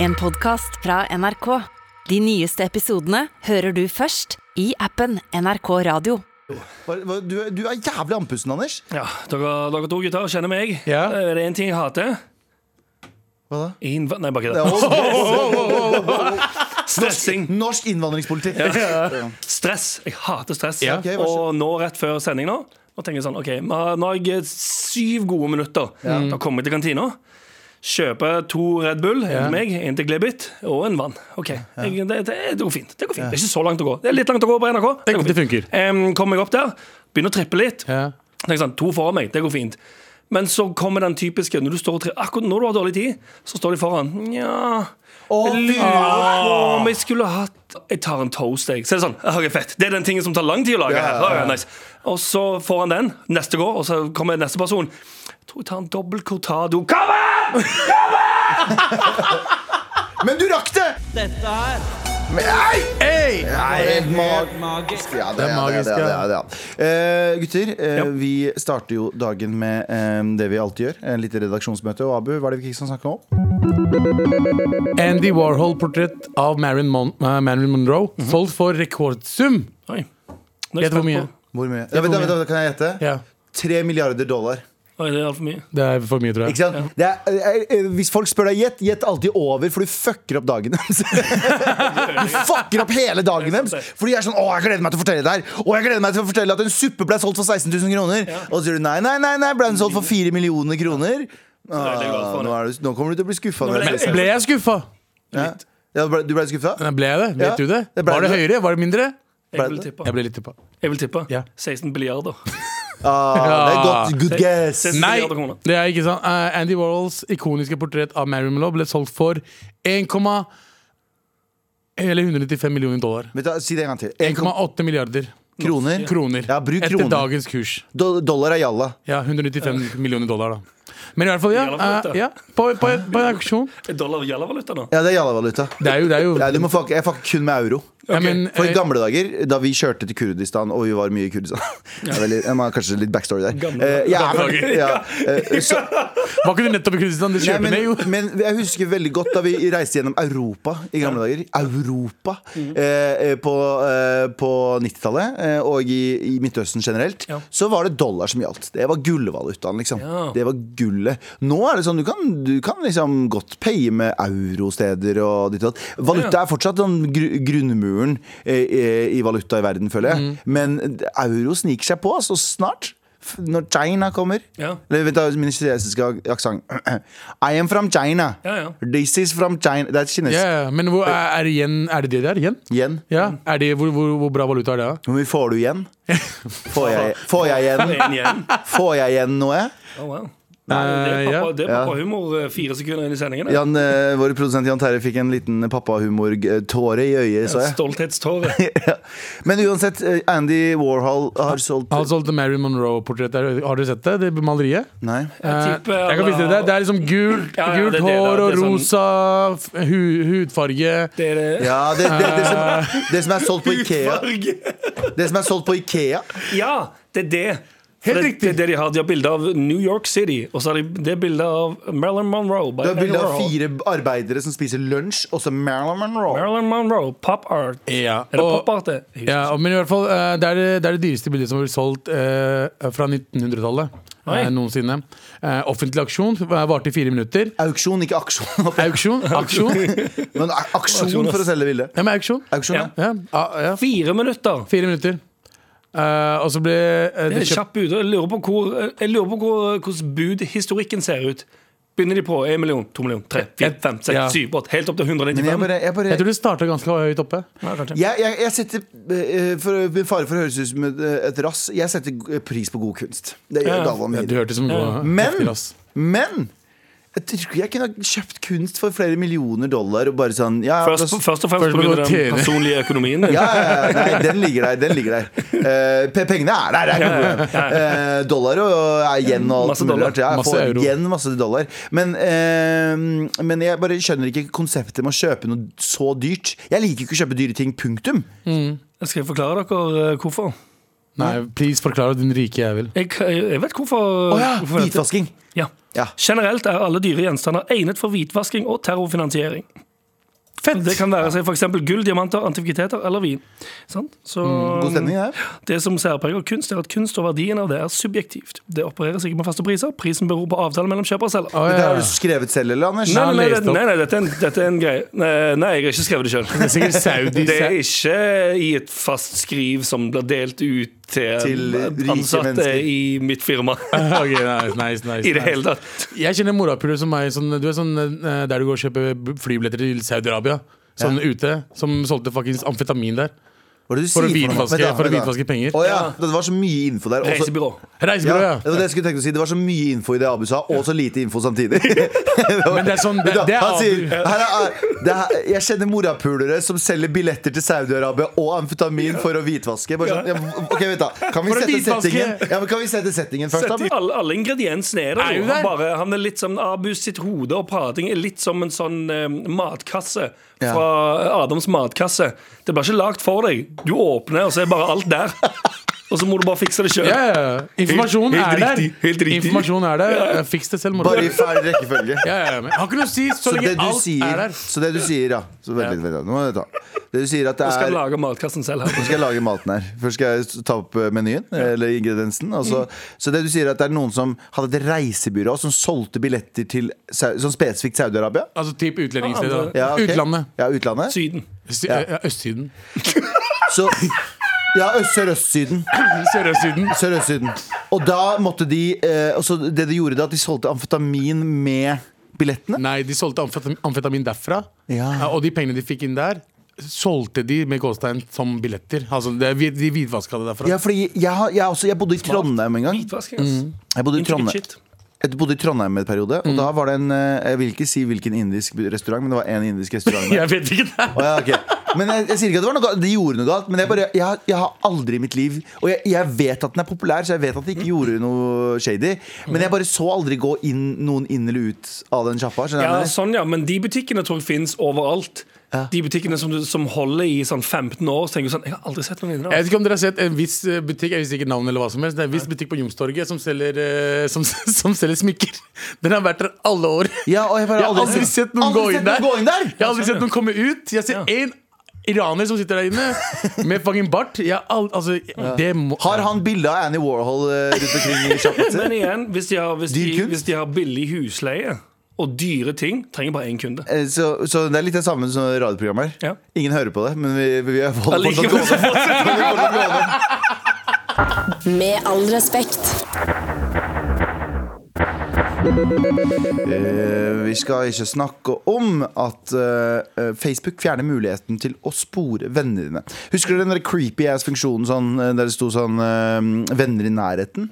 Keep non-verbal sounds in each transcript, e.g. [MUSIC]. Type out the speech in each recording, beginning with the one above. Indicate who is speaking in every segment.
Speaker 1: En podcast fra NRK. De nyeste episodene hører du først i appen NRK Radio.
Speaker 2: Hva- hva- Du, er- du er jævlig andpusten, Anders.
Speaker 3: Ja, dere, dere to gutter kjenner meg.
Speaker 4: Ja.
Speaker 3: Eh, Det er én ting jeg hater.
Speaker 2: Hva da?
Speaker 3: Innv... Nei, bare
Speaker 2: Det
Speaker 3: ikke
Speaker 2: er
Speaker 3: det.
Speaker 2: [LAUGHS] også-
Speaker 3: Stressing.
Speaker 4: [LAUGHS]
Speaker 2: Norsk innvandringspolitikk.
Speaker 3: Stress. Jeg hater stress.
Speaker 4: Ja.
Speaker 2: Ok, hva
Speaker 3: Og nå rett før sending nå Nå tenker jeg sånn, ok, nå har- nå har jeg syv gode minutter. Mm. Da kommer jeg til kantina. Kjøper to Red Bull, en til meg, en til Glebit og en vann. Ok, jeg, det, det, det går fint. Det går fint, det er ikke så langt å gå. Det er litt langt å gå på NRK.
Speaker 4: Det-
Speaker 3: går fint.
Speaker 4: det funker.
Speaker 3: Em, kommer jeg opp der, begynner å trippe litt.
Speaker 4: Ja.
Speaker 3: Tenk sånn, to foran meg, det går fint. Men så kommer den typiske når du står og tre, Akkurat når du har dårlig tid, så står de foran. Nja
Speaker 2: Å,
Speaker 3: jeg
Speaker 2: fy.
Speaker 3: lurer på om jeg skulle hatt Jeg tar en toast, jeg. Så er det sånn. Ok, fett. Det er den tingen som tar lang tid å lage
Speaker 2: Ja,
Speaker 3: her.
Speaker 2: ja,
Speaker 3: Ja, nice. Og så får han den. Neste går, og så kommer neste person. Jeg tror jeg tar en dobbel cortado. Kom igjen!
Speaker 2: Men du rakk det!
Speaker 5: Dette her
Speaker 2: Men, ei! Nei, det er mag-
Speaker 5: magisk.
Speaker 2: Ja, det
Speaker 4: Det
Speaker 2: er
Speaker 4: er magisk,
Speaker 2: det, er- det, er- det, er- det er. Eh, gutter, eh,
Speaker 3: Ja.
Speaker 2: vi starter jo dagen med eh, det vi alltid gjør. En lite redaksjonsmøte. Og Abu, hva er det vi ikke skal snakke om?
Speaker 4: Andy Warhol-portrett av Marilyn, Mon eh, Marilyn Monroe
Speaker 2: Mhm.
Speaker 4: solgt for rekordsum.
Speaker 3: Oi. Nå er jeg
Speaker 4: Gjett hvor
Speaker 3: spent
Speaker 4: mye.
Speaker 3: på-
Speaker 2: Hvor mye? Ja, vent, da,
Speaker 4: hvor
Speaker 2: vent, da, kan jeg gjette?
Speaker 4: Ja,
Speaker 2: Tre milliarder dollar.
Speaker 3: Oi, det er altfor mye.
Speaker 4: Det er for mye, tror
Speaker 2: Ikke
Speaker 4: jeg.
Speaker 2: sant? Det er, eh, eh, hvis folk spør deg gjett, gjett alltid over, for du fucker opp dagen deres. [LAUGHS] du fucker opp hele dagen deres. Fordi jeg er sånn Å, jeg gleder meg til å fortelle det her. Og jeg gleder meg til å fortelle at en suppe ble solgt for 16 000 kroner. Og så sier du nei, nei, nei, nei, ble den solgt for 4 millioner kroner?
Speaker 3: veldig glad
Speaker 2: Ah,
Speaker 3: for Mm. det.
Speaker 2: nå, er du, nå kommer du til å bli skuffa.
Speaker 3: Nå ble
Speaker 4: Ble jeg skuffa?
Speaker 2: Ja, ble- du ble skuffa?
Speaker 4: Nei, Ble jeg det? Vet
Speaker 2: Ja,
Speaker 4: du det?
Speaker 2: det ble
Speaker 4: Var det
Speaker 2: det.
Speaker 4: høyere? Var det mindre?
Speaker 3: Jeg vil tippe.
Speaker 4: Jeg ble litt tippa.
Speaker 3: Jeg vil tippe.
Speaker 4: Ja.
Speaker 3: 16 milliarder.
Speaker 2: Ah, det er
Speaker 4: Ja.
Speaker 2: godt. Good guess.
Speaker 3: Det- det-
Speaker 4: Nei,
Speaker 3: milliarder kroner.
Speaker 4: det er ikke sant. Eh, Andy Warhols ikoniske portrett av Marilyn Monroe ble solgt for 1, eller 195 millioner dollar.
Speaker 2: Vet du, hva, si det en gang til. 1,8
Speaker 4: 1,8 milliarder
Speaker 2: kroner.
Speaker 4: kroner.
Speaker 2: Ja, bruk kroner.
Speaker 4: Etter dagens kurs.
Speaker 2: Do dollar er jalla.
Speaker 4: Ja, 195 millioner dollar, da. Men i hvert fall, ja.
Speaker 3: Gjelder valuta.
Speaker 4: eh, ja på, på, på en auksjon.
Speaker 3: Dollar gjelder valuta nå.
Speaker 2: Ja, det er jallavaluta.
Speaker 4: Det er jo, det er jo
Speaker 2: Ja, du må fuck, jeg fucker kun med euro.
Speaker 4: Ja, men,
Speaker 2: For i
Speaker 4: eh,
Speaker 2: gamle dager, da vi kjørte til Kurdistan, og vi var mye i Kurdistan [LAUGHS] Det er veldig, jeg må ha Kanskje litt backstory der.
Speaker 3: Gamle
Speaker 2: Eh, ja,
Speaker 4: dager.
Speaker 2: men,
Speaker 3: [LAUGHS]
Speaker 2: ja, eh, så,
Speaker 4: Var ikke du nettopp i Kurdistan? Det
Speaker 2: nei,
Speaker 4: kjørte
Speaker 2: men,
Speaker 4: med, jo.
Speaker 2: men jeg husker veldig godt da vi reiste gjennom Europa i gamle dager. Europa!
Speaker 3: Mm.
Speaker 2: Eh, eh, på eh, på 90-tallet eh, og i, i Midtøsten generelt.
Speaker 3: Ja.
Speaker 2: Så var det dollar som gjaldt. Det var gullvalutaen, liksom.
Speaker 3: Ja.
Speaker 2: Det var gullet. Nå er det sånn, du kan, du kan liksom godt paye med eurosteder og ditt og datt. Valuta
Speaker 3: Ja.
Speaker 2: er fortsatt den gru grunnmuren eh, eh, i valuta i verden, føler jeg.
Speaker 3: Mm.
Speaker 2: Men euro sniker seg på, så snart. f- Når China kommer.
Speaker 3: Ja.
Speaker 2: Eller vent, da, min kinesiske aksent. [CLEARS THROAT] I am from China.
Speaker 3: Ja, ja.
Speaker 2: This is from China. Det er kinesisk.
Speaker 4: Ja, ja, men hvor, er, er, det igjen, er det det der igjen?
Speaker 2: Igjen.
Speaker 4: Ja, er det, hvor, hvor, hvor bra valuta er det, da?
Speaker 2: Hvor mye får du
Speaker 3: [LAUGHS]
Speaker 2: igjen? Får jeg, får jeg
Speaker 3: En
Speaker 2: igjen?
Speaker 3: igjen.
Speaker 2: Får jeg igjen noe?
Speaker 3: Oh, wow. Nei, det er
Speaker 4: Eh, ja.
Speaker 3: pappa- det er pappahumor eh, fire sekunder inn i sendingen. det.
Speaker 2: Jan, eh, vår produsent Jan Terje fikk en liten pappahumor-tåre i øyet, så jeg.
Speaker 3: Stolthetstårer.
Speaker 2: [LAUGHS] ja. Men uansett, eh, Andy Warhol har solgt
Speaker 4: Han solgte Altså, Marilyn Monroe-portrettet. Har dere sett det? Det maleriet?
Speaker 2: Nei.
Speaker 4: Eh,
Speaker 3: tipper
Speaker 4: jeg kan vise dere det. Det er liksom gult,
Speaker 3: Ja, ja, det er
Speaker 4: gult
Speaker 3: det, da.
Speaker 4: hår og
Speaker 3: Det er sånn-
Speaker 4: rosa f- hu, hudfarge.
Speaker 3: Det er
Speaker 4: [LAUGHS]
Speaker 3: det.
Speaker 2: Ja, det, det, det,
Speaker 3: [LAUGHS]
Speaker 2: som, det som er solgt på Ikea. Det som er solgt på Ikea
Speaker 3: Ja, det er det. For
Speaker 4: Helt
Speaker 3: det,
Speaker 4: riktig.
Speaker 3: Det er det de har. De har bilde av New York City, og så har de det er bilde av Marilyn Monroe. by
Speaker 2: Du har bilde av
Speaker 3: Andy Warhol.
Speaker 2: fire arbeidere som spiser lunsj, også Marilyn Monroe.
Speaker 3: Marilyn Monroe, pop art.
Speaker 4: Ja,
Speaker 3: Er det
Speaker 4: og-
Speaker 3: pop art, det? Jeg husker
Speaker 4: Ja, og- men i hvert fall, eh, det, er det, det er det dyreste bildet som ble solgt eh, fra 1900-tallet eh,
Speaker 3: Oi.
Speaker 4: noensinne. Eh, offentlig aksjon eh, varte i fire minutter.
Speaker 2: Auksjon, ikke aksjon.
Speaker 4: [LAUGHS] Auksjon. Aksjon.
Speaker 2: [LAUGHS] Men a- aksjon for å selge bildet.
Speaker 4: Ja, men auksjon.
Speaker 2: Auksjon, ja.
Speaker 4: Ja, ah, ja.
Speaker 3: ikke. Fire minutter!
Speaker 4: Fire minutter. Eh, og så ble eh,
Speaker 3: Det
Speaker 4: det
Speaker 3: er
Speaker 4: kjøpt
Speaker 3: kjapp ut. Jeg lurer på hvor- jeg lurer på hvor- hvordan budhistorikken ser ut. Begynner de på 1 million, 2 million, 3, 4, 5, 6,
Speaker 4: Ja.
Speaker 3: 7, 8, helt opp til
Speaker 2: Men jeg
Speaker 3: 195?
Speaker 2: bare, jeg bare
Speaker 4: Jeg tror det starta ganske høyt oppe.
Speaker 3: Ja, kanskje.
Speaker 2: jeg, jeg, jeg setter eh, for, Med fare for å høres ut som et, et rass, jeg setter g- pris på god kunst. Det gjør
Speaker 3: Ja,
Speaker 2: Galvan
Speaker 4: Ja, du
Speaker 2: videre.
Speaker 4: hørte som ja.
Speaker 2: Men,
Speaker 4: heftig, ass.
Speaker 2: men jeg tror jeg kunne ha kjøpt kunst for flere millioner dollar og bare sånn ja,
Speaker 3: Først,
Speaker 2: da-
Speaker 3: først og fremst
Speaker 4: Først må
Speaker 3: pga.
Speaker 4: du
Speaker 3: den
Speaker 4: tjene.
Speaker 3: personlige
Speaker 4: [LAUGHS]
Speaker 3: økonomien.
Speaker 2: ja, ja, ja, nei, den ligger der. Den ligger der. Eh, pe- pengene er der. Det er ikke noe problem. Eh, dollar og og yen og alt
Speaker 3: Masse dollar.
Speaker 2: mulig rart. Ja, jeg
Speaker 4: Masse
Speaker 2: får
Speaker 4: euro.
Speaker 2: igjen masse dollar. Men, eh, men jeg bare skjønner ikke konseptet med å kjøpe noe så dyrt. Jeg liker jo ikke å kjøpe dyre ting. Punktum.
Speaker 3: Skal jeg forklare dere eh, hvorfor?
Speaker 4: Nei, please forklar din rike jævel.
Speaker 3: Jeg, jeg vet hvorfor.
Speaker 2: Å ja,
Speaker 3: hvorfor dette-
Speaker 2: Hvitvasking.
Speaker 3: Ja.
Speaker 2: Ja.
Speaker 3: Generelt er alle dyre gjenstander egnet for hvitvasking og terrorfinansiering.
Speaker 4: Fett!
Speaker 3: Det kan være seg for eksempel gull, diamanter, antikviteter eller vin. Sant? Så
Speaker 2: Mm, God stemning, det her.
Speaker 3: det som særpreger kunst, er at kunst og verdien av det er subjektivt. Det opereres ikke med faste priser. Prisen beror på avtale mellom kjøper og selger.
Speaker 4: Å,
Speaker 2: Dette
Speaker 4: ja.
Speaker 2: har
Speaker 4: [LAUGHS]
Speaker 2: du skrevet selv, eller, Anders?
Speaker 3: Nei, nei, nei,
Speaker 4: lest
Speaker 3: det- nei, nei dette, er en, dette er en greie. Nei, nei jeg har ikke skrevet det sjøl.
Speaker 4: Det er sikkert saudi
Speaker 3: Det er ikke i et fast skriv som blir delt ut til,
Speaker 2: Til rike
Speaker 3: ansatte
Speaker 2: mennesker.
Speaker 3: i mitt firma.
Speaker 4: Ok, nice, nice, nice,
Speaker 3: I det
Speaker 4: nice.
Speaker 3: hele tatt.
Speaker 4: Jeg kjenner morapuler som meg sånn, Du er sånn eh, der du går og kjøper b- flybilletter til Saudi-Arabia. Sånn ute. Som solgte fuckings amfetamin der.
Speaker 2: Hva er det du
Speaker 4: For
Speaker 2: sier
Speaker 4: å
Speaker 2: noe?
Speaker 4: hvitvaske-
Speaker 2: Vent da,
Speaker 4: for å
Speaker 2: vent da.
Speaker 4: hvitvaske penger.
Speaker 2: Å ja, Det var så mye info der. og så-
Speaker 3: Reisebyrå.
Speaker 2: Ja,
Speaker 4: Reisebyrå, ja.
Speaker 2: det var det jeg skulle tenke å si. Det var så mye info i det Abu sa, og så lite info samtidig. [LAUGHS]
Speaker 4: Men det er sånn Det, det er
Speaker 2: Han sier
Speaker 4: Abu.
Speaker 2: her er, det er, Jeg kjenner morapulere som selger billetter til Saudi-Arabia og amfetamin for å hvitvaske. Bare sånn, ja, ok, vent da Kan vi
Speaker 4: For å
Speaker 2: sette
Speaker 4: hvitvaske.
Speaker 2: settingen Ja, men kan vi sette settingen først,
Speaker 3: Sett i
Speaker 2: da?
Speaker 3: alle, alle ingrediensene er
Speaker 4: Er
Speaker 3: der.
Speaker 4: jo
Speaker 3: jo.
Speaker 4: der.
Speaker 3: Han, bare, han er litt som Abus sitt hode og prating er litt som en sånn eh, matkasse
Speaker 2: Ja.
Speaker 3: fra Adams matkasse. Det blir ikke lagd for deg. Du åpner, og så er bare alt der. Og så må du bare fikse det sjøl.
Speaker 4: Ja, ja, ja. Informasjon
Speaker 3: Helt- helt
Speaker 4: er der.
Speaker 3: riktig, helt riktig.
Speaker 4: Informasjon er der. Eh, Fiks det selv, moro.
Speaker 2: Bare i feil rekkefølge.
Speaker 4: Ja, ja, ja, men jeg har ikke noe å si så
Speaker 2: Så det
Speaker 4: lenge
Speaker 2: du
Speaker 4: alt er
Speaker 2: sier,
Speaker 4: der.
Speaker 2: så det du sier ja. Så vent litt, vent da. Nå må jeg ta. Det du sier at det
Speaker 3: Du skal
Speaker 2: er
Speaker 3: lage matkassen selv
Speaker 2: Nå
Speaker 3: her.
Speaker 2: skal jeg lage maten her. Først skal jeg ta opp eh, menyen. Eller ingrediensen og
Speaker 4: Mm.
Speaker 2: så- Så det du sier er at det er noen som hadde et reisebyrå som solgte billetter til Sau- sånn spesifikt Saudi-Arabia?
Speaker 4: Altså type utlendingssted. da.
Speaker 2: Ja, ok.
Speaker 4: Utlandet.
Speaker 2: Ja, utlandet.
Speaker 3: Syden.
Speaker 4: Sy- ja, Østsiden.
Speaker 2: Så ja, ø- Sørøstsyden.
Speaker 4: Sørøstsiden.
Speaker 2: Sørøstsyden. Og da måtte de eh, og så Det de gjorde da, at de solgte amfetamin med billettene?
Speaker 4: Nei, de solgte amfetamin, amfetamin derfra.
Speaker 2: Ja.
Speaker 4: Eh, Og de pengene de fikk inn der, solgte de med gåstein som billetter. Altså, det, vi- de hvitvaska det derfra.
Speaker 2: Ja, fordi jeg, har- jeg, har også, jeg bodde i Trondheim en gang.
Speaker 3: Hvitvasking, ass.
Speaker 2: Jeg bodde i
Speaker 3: Intricate
Speaker 2: Trondheim.
Speaker 3: shit. Mm.
Speaker 2: Jeg bodde i Trondheim en periode, og da var det en eh, Jeg vil ikke si hvilken indisk restaurant, men det var en indisk
Speaker 3: [LAUGHS]
Speaker 2: restaurant. der.
Speaker 4: Jeg vet ikke det.
Speaker 2: Å, ja, ok. Men jeg, jeg sier ikke at det var noe, galt. de gjorde noe galt, men jeg, bare, jeg, har- jeg har aldri i mitt liv Og jeg, jeg vet at den er populær, så jeg vet at de ikke gjorde noe shady. Men
Speaker 3: Mm.
Speaker 2: jeg bare så aldri gå inn noen inn eller ut av den sjappa. skjønner du
Speaker 3: Ja,
Speaker 2: hva jeg mener?
Speaker 3: sånn ja, men de butikkene tror jeg finnes overalt. De butikkene som, du- som holder i sånn 15 år, så tenker du sånn Jeg har aldri sett noen inne
Speaker 4: Jeg
Speaker 3: der.
Speaker 4: vet ikke om dere har sett en viss eh, butikk Jeg husker ikke navnet eller hva som helst Det er en viss butikk på Youngstorget som, selger, eh, som, [LAUGHS] som selger smykker Den har vært der alle år Jeg
Speaker 2: Ja, og jeg bare
Speaker 4: har aldri sett noen
Speaker 2: aldri
Speaker 4: gå
Speaker 2: sett
Speaker 4: inn der
Speaker 2: noen gå inn der!
Speaker 4: Jeg har aldri sett noen komme ut Jeg ser
Speaker 3: Ja.
Speaker 4: en iraner som sitter der
Speaker 2: [LAUGHS]
Speaker 4: inne Med fucking bart Jeg har aldri, altså, det må,
Speaker 2: Har han bilde av Annie Warhol eh, rundt omkring i sjappa si?
Speaker 3: Men igjen, hvis de har, hvis de,
Speaker 2: Dyr kunst?
Speaker 3: hvis de har billig husleie og dyre ting, trenger bare én kunde.
Speaker 2: Eh, Så, så det er litt det samme som radioprogram her.
Speaker 3: Ja.
Speaker 2: Ingen hører på det, men vi, vi holder fortsatt
Speaker 3: Allikevel
Speaker 2: gående.
Speaker 3: så fortsetter
Speaker 2: Vi holder fortsatt gående.
Speaker 5: Med all respekt.
Speaker 2: Eh, vi skal ikke snakke om at eh, Facebook fjerner muligheten til å spore venner dine. Husker dere den der creepy ass-funksjonen sånn, eh, der det sto sånn eh, 'venner i nærheten'?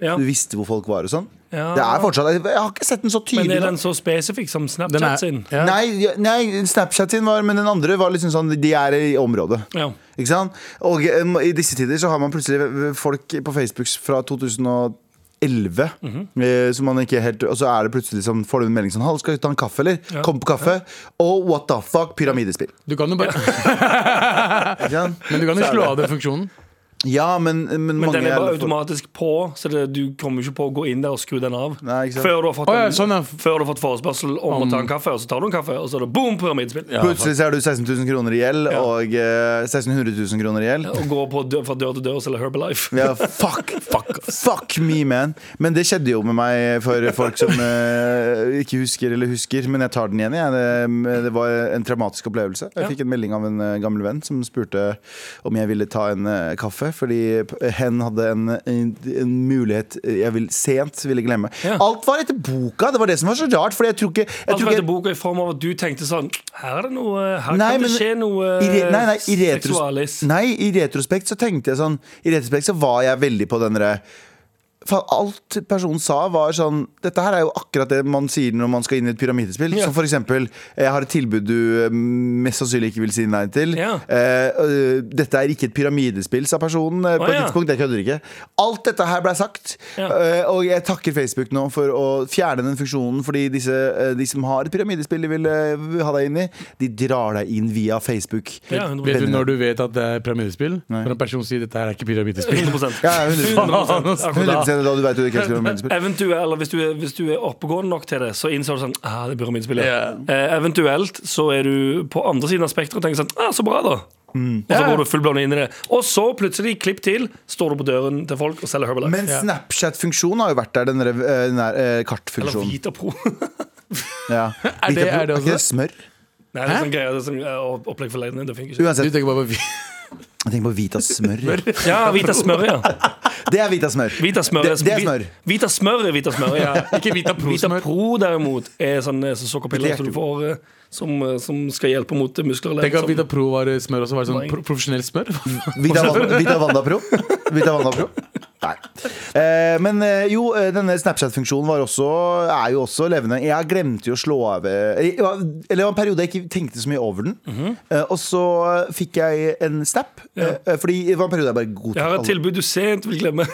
Speaker 3: ja.
Speaker 2: Du visste hvor folk var og sånn?
Speaker 3: Ja.
Speaker 2: Det er fortsatt Jeg har ikke sett den så
Speaker 3: Men
Speaker 2: tydelig.
Speaker 3: er
Speaker 2: nå.
Speaker 3: den så spesifikk som
Speaker 4: den
Speaker 3: Snapchat
Speaker 4: er,
Speaker 3: sin?
Speaker 4: ja.
Speaker 2: Nei, ja, nei, Snapchat sin var, men den andre var liksom sånn De er i området.
Speaker 3: Ja.
Speaker 2: Ikke sant? Og em, i disse tider så har man plutselig folk på Facebook fra 2011
Speaker 3: Mhm.
Speaker 2: eh, som man ikke helt Og så er det plutselig sånn, får du en melding sånn Hall, skal vi ta en kaffe, eller? Kom på kaffe. Og what the fuck,
Speaker 3: [LAUGHS]
Speaker 2: pyramidespill.
Speaker 4: Du kan jo bare
Speaker 2: Ikke sant?
Speaker 4: Men du kan jo slå av den funksjonen
Speaker 2: Ja, men, men,
Speaker 3: Men
Speaker 2: mange
Speaker 3: den er
Speaker 2: for-
Speaker 3: bare automatisk på, så det, du kommer ikke på å gå inn der og skru den av.
Speaker 2: Nei, ikke sant.
Speaker 3: Før du har fått,
Speaker 4: Å, ja,
Speaker 3: en-
Speaker 4: sånn, ja.
Speaker 3: før du har fått forespørsel om, å ta en kaffe, og så tar du en kaffe, og så er det boom, pyramidespill.
Speaker 2: Plutselig så er du 16 000 kroner i gjeld,
Speaker 3: Ja.
Speaker 2: og eh, 1600 000 kroner i gjeld.
Speaker 3: Og går på dør, fra dør til dør og selger Herbalife.
Speaker 2: Ja, fuck, fuck, fuck me, man. Men det skjedde jo med meg for folk som eh, ikke husker eller husker. Men jeg tar den igjen. Jeg. Det, det var en traumatisk opplevelse. Jeg fikk en melding av en eh, gammel venn som spurte om jeg ville ta en eh, kaffe. Fordi p- hen hadde en, en, en mulighet jeg vil, sent ville glemme.
Speaker 3: Ja.
Speaker 2: Alt var etter boka! Det var det som var så rart. Fordi jeg tror ikke, jeg
Speaker 3: Alt
Speaker 2: tror
Speaker 3: var
Speaker 2: ikke
Speaker 3: etter boka i form av at du tenkte sånn Her er det noe eh, Her
Speaker 2: Nei,
Speaker 3: kan det
Speaker 2: men
Speaker 3: skje noe eh,
Speaker 2: I re, nei, nei, i retros-
Speaker 3: seksualis.
Speaker 2: nei, i retrospekt så tenkte jeg sånn I retrospekt så var jeg veldig på den derre Faen, alt personen sa var sånn Dette her er jo akkurat det man sier når man skal inn i et pyramidespill.
Speaker 3: Ja.
Speaker 2: Som for eksempel Jeg har et tilbud du eh, mest sannsynlig ikke vil si nei til.
Speaker 3: Ja.
Speaker 2: Eh, øh, dette er ikke et pyramidespill, sa personen eh, på
Speaker 3: Å,
Speaker 2: et
Speaker 3: ja.
Speaker 2: tidspunkt. Jeg kødder ikke. Alt dette her ble sagt.
Speaker 3: Ja.
Speaker 2: eh, og jeg takker Facebook nå for å fjerne den funksjonen, fordi disse, eh, de som har et pyramidespill de vil eh, ha deg inn i, de drar deg inn via Facebook.
Speaker 3: Ja, 100%.
Speaker 4: Vet du når du vet at det er pyramidespill? Når en person sier dette her er ikke pyramidespill
Speaker 3: 100
Speaker 2: Ja, 100%.
Speaker 4: Faen, ass.
Speaker 2: 100% mener da du vet du ikke elsker vaniljesprit?
Speaker 3: Eventuelt, hvis du, er- hvis du er oppegående nok til det, så innser du sånn ah, det blir minspillet. Eh, eventuelt så er du på andre siden av spekteret og tenker sånn ah, så bra, da.
Speaker 2: Mm.
Speaker 3: Og så går du fullblående inn i det. Og så plutselig, klipp til, står du på døren til folk og selger Herbalife.
Speaker 2: Men Snapchat-funksjonen har jo vært der, den der, eh, den der eh,
Speaker 3: Eller
Speaker 2: kartfunksjonen.
Speaker 3: Vita Pro.
Speaker 2: Ja.
Speaker 4: Er det- er det
Speaker 2: ikke det
Speaker 4: også?
Speaker 2: smør?
Speaker 3: Nei, det er sånn greier, det er sånn eh, opplegg for leiden. Det funker ikke.
Speaker 4: Du
Speaker 2: Uansett,
Speaker 4: tenker bare [LAUGHS] på
Speaker 2: jeg tenker på Vita smør.
Speaker 3: Ja, Vita Smør, ja.
Speaker 2: Det er Vita smør.
Speaker 3: Vita smør
Speaker 2: Det-
Speaker 4: altså.
Speaker 2: det er smør.
Speaker 3: Vi- Vita smør er Vita smør, ja.
Speaker 4: [LAUGHS]
Speaker 3: Ikke Vita Pro. Vita
Speaker 4: smør.
Speaker 3: Pro derimot er sånne
Speaker 2: Det
Speaker 3: så
Speaker 2: er
Speaker 3: sukkerpiller som du
Speaker 2: ikke-
Speaker 3: får, eh, som, eh, som skal hjelpe mot muskler. og
Speaker 4: Tenk
Speaker 3: ledd,
Speaker 4: at
Speaker 3: som-
Speaker 4: Vita Pro var smør også. Var det sånn pro profesjonell smør?
Speaker 2: Vita, Van- Vita Vanda Pro? Vita Vanda Pro? Nei. Eh, men eh, jo, eh, denne Snapchat-funksjonen var også, er jo også levende. Jeg glemte jo å slå av eh, jeg var- Eller det var en periode jeg ikke tenkte så mye over den.
Speaker 3: Mhm.
Speaker 2: eh, og så fikk jeg en snap. Eh, fordi det var en periode jeg bare godtok
Speaker 3: Jeg har et
Speaker 2: alle-
Speaker 3: tilbud du sent vil glemme.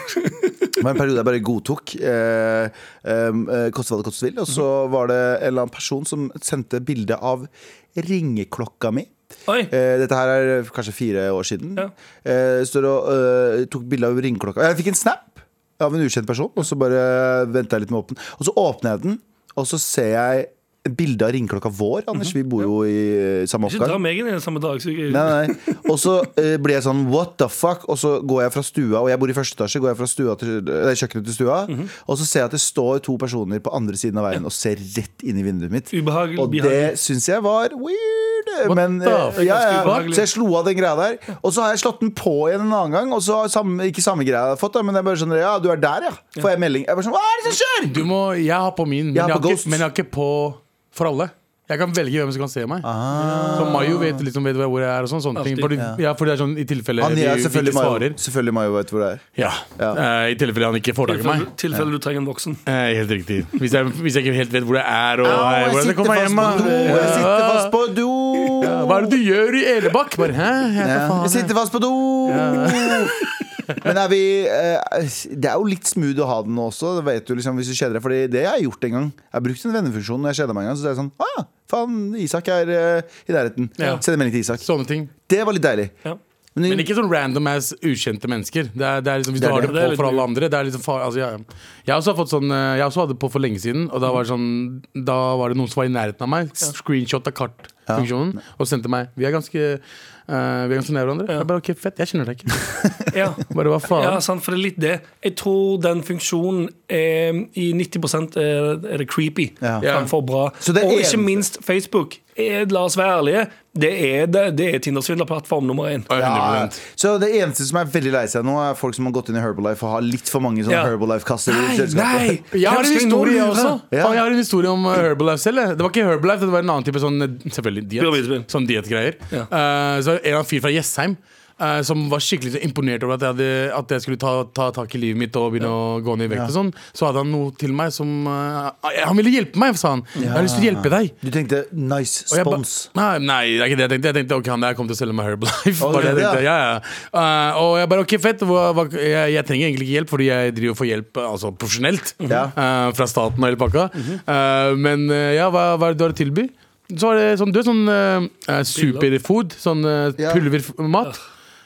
Speaker 2: Det var en periode jeg bare godtok. Eh, em, eh, koste hva det koste vil. Og
Speaker 3: Mhm.
Speaker 2: så var det en eller annen person som sendte bilde av ringeklokka mi.
Speaker 3: Oi.
Speaker 2: Eh, dette her er kanskje fire år siden.
Speaker 3: Ja.
Speaker 2: Eh, står og eh, tok bilde av ringeklokka. Jeg fikk en snap av en ukjent person, og så bare venta jeg litt med å åpne den. Og så åpner jeg den, og så ser jeg et bilde av ringeklokka vår. Anders, vi bor jo i eh, samme
Speaker 3: [LAUGHS] Mhm. Ikke dra
Speaker 2: oppgang.
Speaker 3: meg inn i den samme dag. Så jeg,
Speaker 2: Nei, nei. Og så eh, blir jeg sånn what the fuck, og så går jeg fra stua, og jeg bor i første etasje, går jeg fra stua til, eh, kjøkkenet til stua, og så ser jeg at det står to personer på andre siden av veien og ser rett inn i vinduet mitt.
Speaker 3: Ubehagelig,
Speaker 2: og det
Speaker 3: behagelig.
Speaker 2: syns jeg var weird.
Speaker 4: What
Speaker 2: Men,
Speaker 4: the fuck?
Speaker 2: eh, ja,
Speaker 3: Ganske
Speaker 2: ja.
Speaker 3: ubehagelig.
Speaker 2: Så jeg slo av den greia der, og så har jeg slått den på igjen en annen gang, og så har samme, ikke samme greia jeg har fått, da, men jeg bare sånn ja, du er der, ja. Får jeg melding. Jeg bare sånn, hva er det som skjer?
Speaker 4: Du må, jeg har på min,
Speaker 2: Jeg
Speaker 4: men jeg
Speaker 2: har
Speaker 4: har,
Speaker 2: på Ghost.
Speaker 4: ikke, men jeg har ikke på for alle. Jeg kan velge hvem som kan se meg.
Speaker 2: Ah.
Speaker 4: Så Mayo vet, liksom, vet hvor jeg er og sånn, sånne ting.
Speaker 3: Alltid.
Speaker 4: Fordi, ja. for det er sånn i tilfelle
Speaker 2: Han
Speaker 4: de,
Speaker 2: er
Speaker 4: de
Speaker 2: selvfølgelig
Speaker 4: ikke
Speaker 2: Mayo.
Speaker 4: svarer.
Speaker 2: Selvfølgelig Mayo vet hvor det er.
Speaker 4: Ja. Eh, I tilfelle han ikke får tak i meg.
Speaker 3: tilfelle, tilfelle du trenger en voksen.
Speaker 4: Eh, helt riktig. Hvis jeg, hvis jeg ikke helt vet hvor jeg er og
Speaker 2: Au,
Speaker 4: eh, hvordan jeg kommer meg hjem.
Speaker 2: på do!
Speaker 4: da.
Speaker 2: Jeg sitter fast på do!
Speaker 4: Ja, Hva er det du gjør i Elebakk? Bare, hæ? Jeg,
Speaker 2: Ja.
Speaker 4: faen,
Speaker 2: Jeg sitter fast på do! [LAUGHS] Men er vi eh, Det er jo litt smooth å ha den nå også. Det vet du liksom hvis du kjeder deg Fordi det har jeg gjort en gang. Jeg har brukt en vennefunksjon når jeg kjeder meg en gang. Så det er sånn Å ja, faen, Isak er eh, i nærheten.
Speaker 4: Ja.
Speaker 2: Send en melding til Isak.
Speaker 4: Sånne ting.
Speaker 2: Det var litt deilig.
Speaker 3: Ja.
Speaker 2: Men,
Speaker 4: Men ikke sånn random ass ukjente mennesker. Det er, det er liksom, hvis
Speaker 2: Det er
Speaker 4: du har
Speaker 2: det.
Speaker 4: det,
Speaker 3: Det er litt
Speaker 4: på for alle
Speaker 3: weird.
Speaker 4: andre det er liksom far, altså, jeg, jeg, også har fått sånn, eh, jeg også hadde det på for lenge siden, og da var det, sånn, da var det noen som var i nærheten av meg. Screenshot av kartfunksjonen. Og sendte meg Vi er ganske eh, Vi er ganske nær hverandre. Jeg bare OK, fett. Jeg kjenner deg ikke.
Speaker 3: Ja.
Speaker 4: Bare hva faen?
Speaker 3: ja, sant, for det er litt det. Jeg tror den funksjonen er, i 90 er, er det creepy
Speaker 2: Ja.
Speaker 3: framfor bra.
Speaker 2: Så det er
Speaker 3: Og ikke
Speaker 2: en-
Speaker 3: minst Facebook. Er, la oss være ærlige, det er, det, det er Tindersvindlerplattform nummer én.
Speaker 4: Ja,
Speaker 2: ja,
Speaker 4: 100%.
Speaker 2: så det eneste som er veldig lei seg nå, er folk som har gått inn i Herbalife og har litt for mange sånne
Speaker 3: Ja.
Speaker 2: Herbalife-kasser i [LAUGHS]
Speaker 3: Nei, nei!
Speaker 2: kjøleskapet.
Speaker 4: Jeg har
Speaker 3: Hvem skal
Speaker 4: en
Speaker 3: vi nå
Speaker 4: historie jeg
Speaker 3: lure?
Speaker 4: også.
Speaker 2: Ja.
Speaker 4: Faen, jeg har en historie om eh, Herbalife selv. jeg. Det var ikke Herbalife, det var en annen type sånn eh, Selvfølgelig
Speaker 3: Pyramidespill.
Speaker 4: diet. Sånn dietgreier.
Speaker 3: Ja.
Speaker 4: Eh, så var det en eller annen fyr fra Jessheim eh, som var skikkelig så imponert over at jeg, hadde, at jeg skulle ta, ta tak i livet mitt og begynne å gå ned i vekt. og sånn Så hadde han noe til meg som eh, Han ville hjelpe meg, sa han. Jeg har lyst til å hjelpe deg.
Speaker 2: Du tenkte nice
Speaker 4: Og jeg ba-
Speaker 2: spons.
Speaker 4: Nei, nei, det er ikke det jeg tenkte. Jeg tenkte ok, han der kommer til å selge meg Herbalife.
Speaker 2: Å,
Speaker 4: Bare det jeg
Speaker 2: ja.
Speaker 4: tenkte, ja, ja. Eh, og jeg bare ok, fett. Hva, hva, jeg, jeg trenger egentlig ikke hjelp, fordi jeg driver og får hjelp eh, altså, profesjonelt
Speaker 2: Mhm. Ja. Mhm.
Speaker 4: eh, fra staten og hele pakka. Eh, men eh, ja, hva, hva er det du har å tilby? Så var det sånn, du er sånn eh, eh, superfood, sånn eh,
Speaker 2: Ja.
Speaker 4: pulvermat.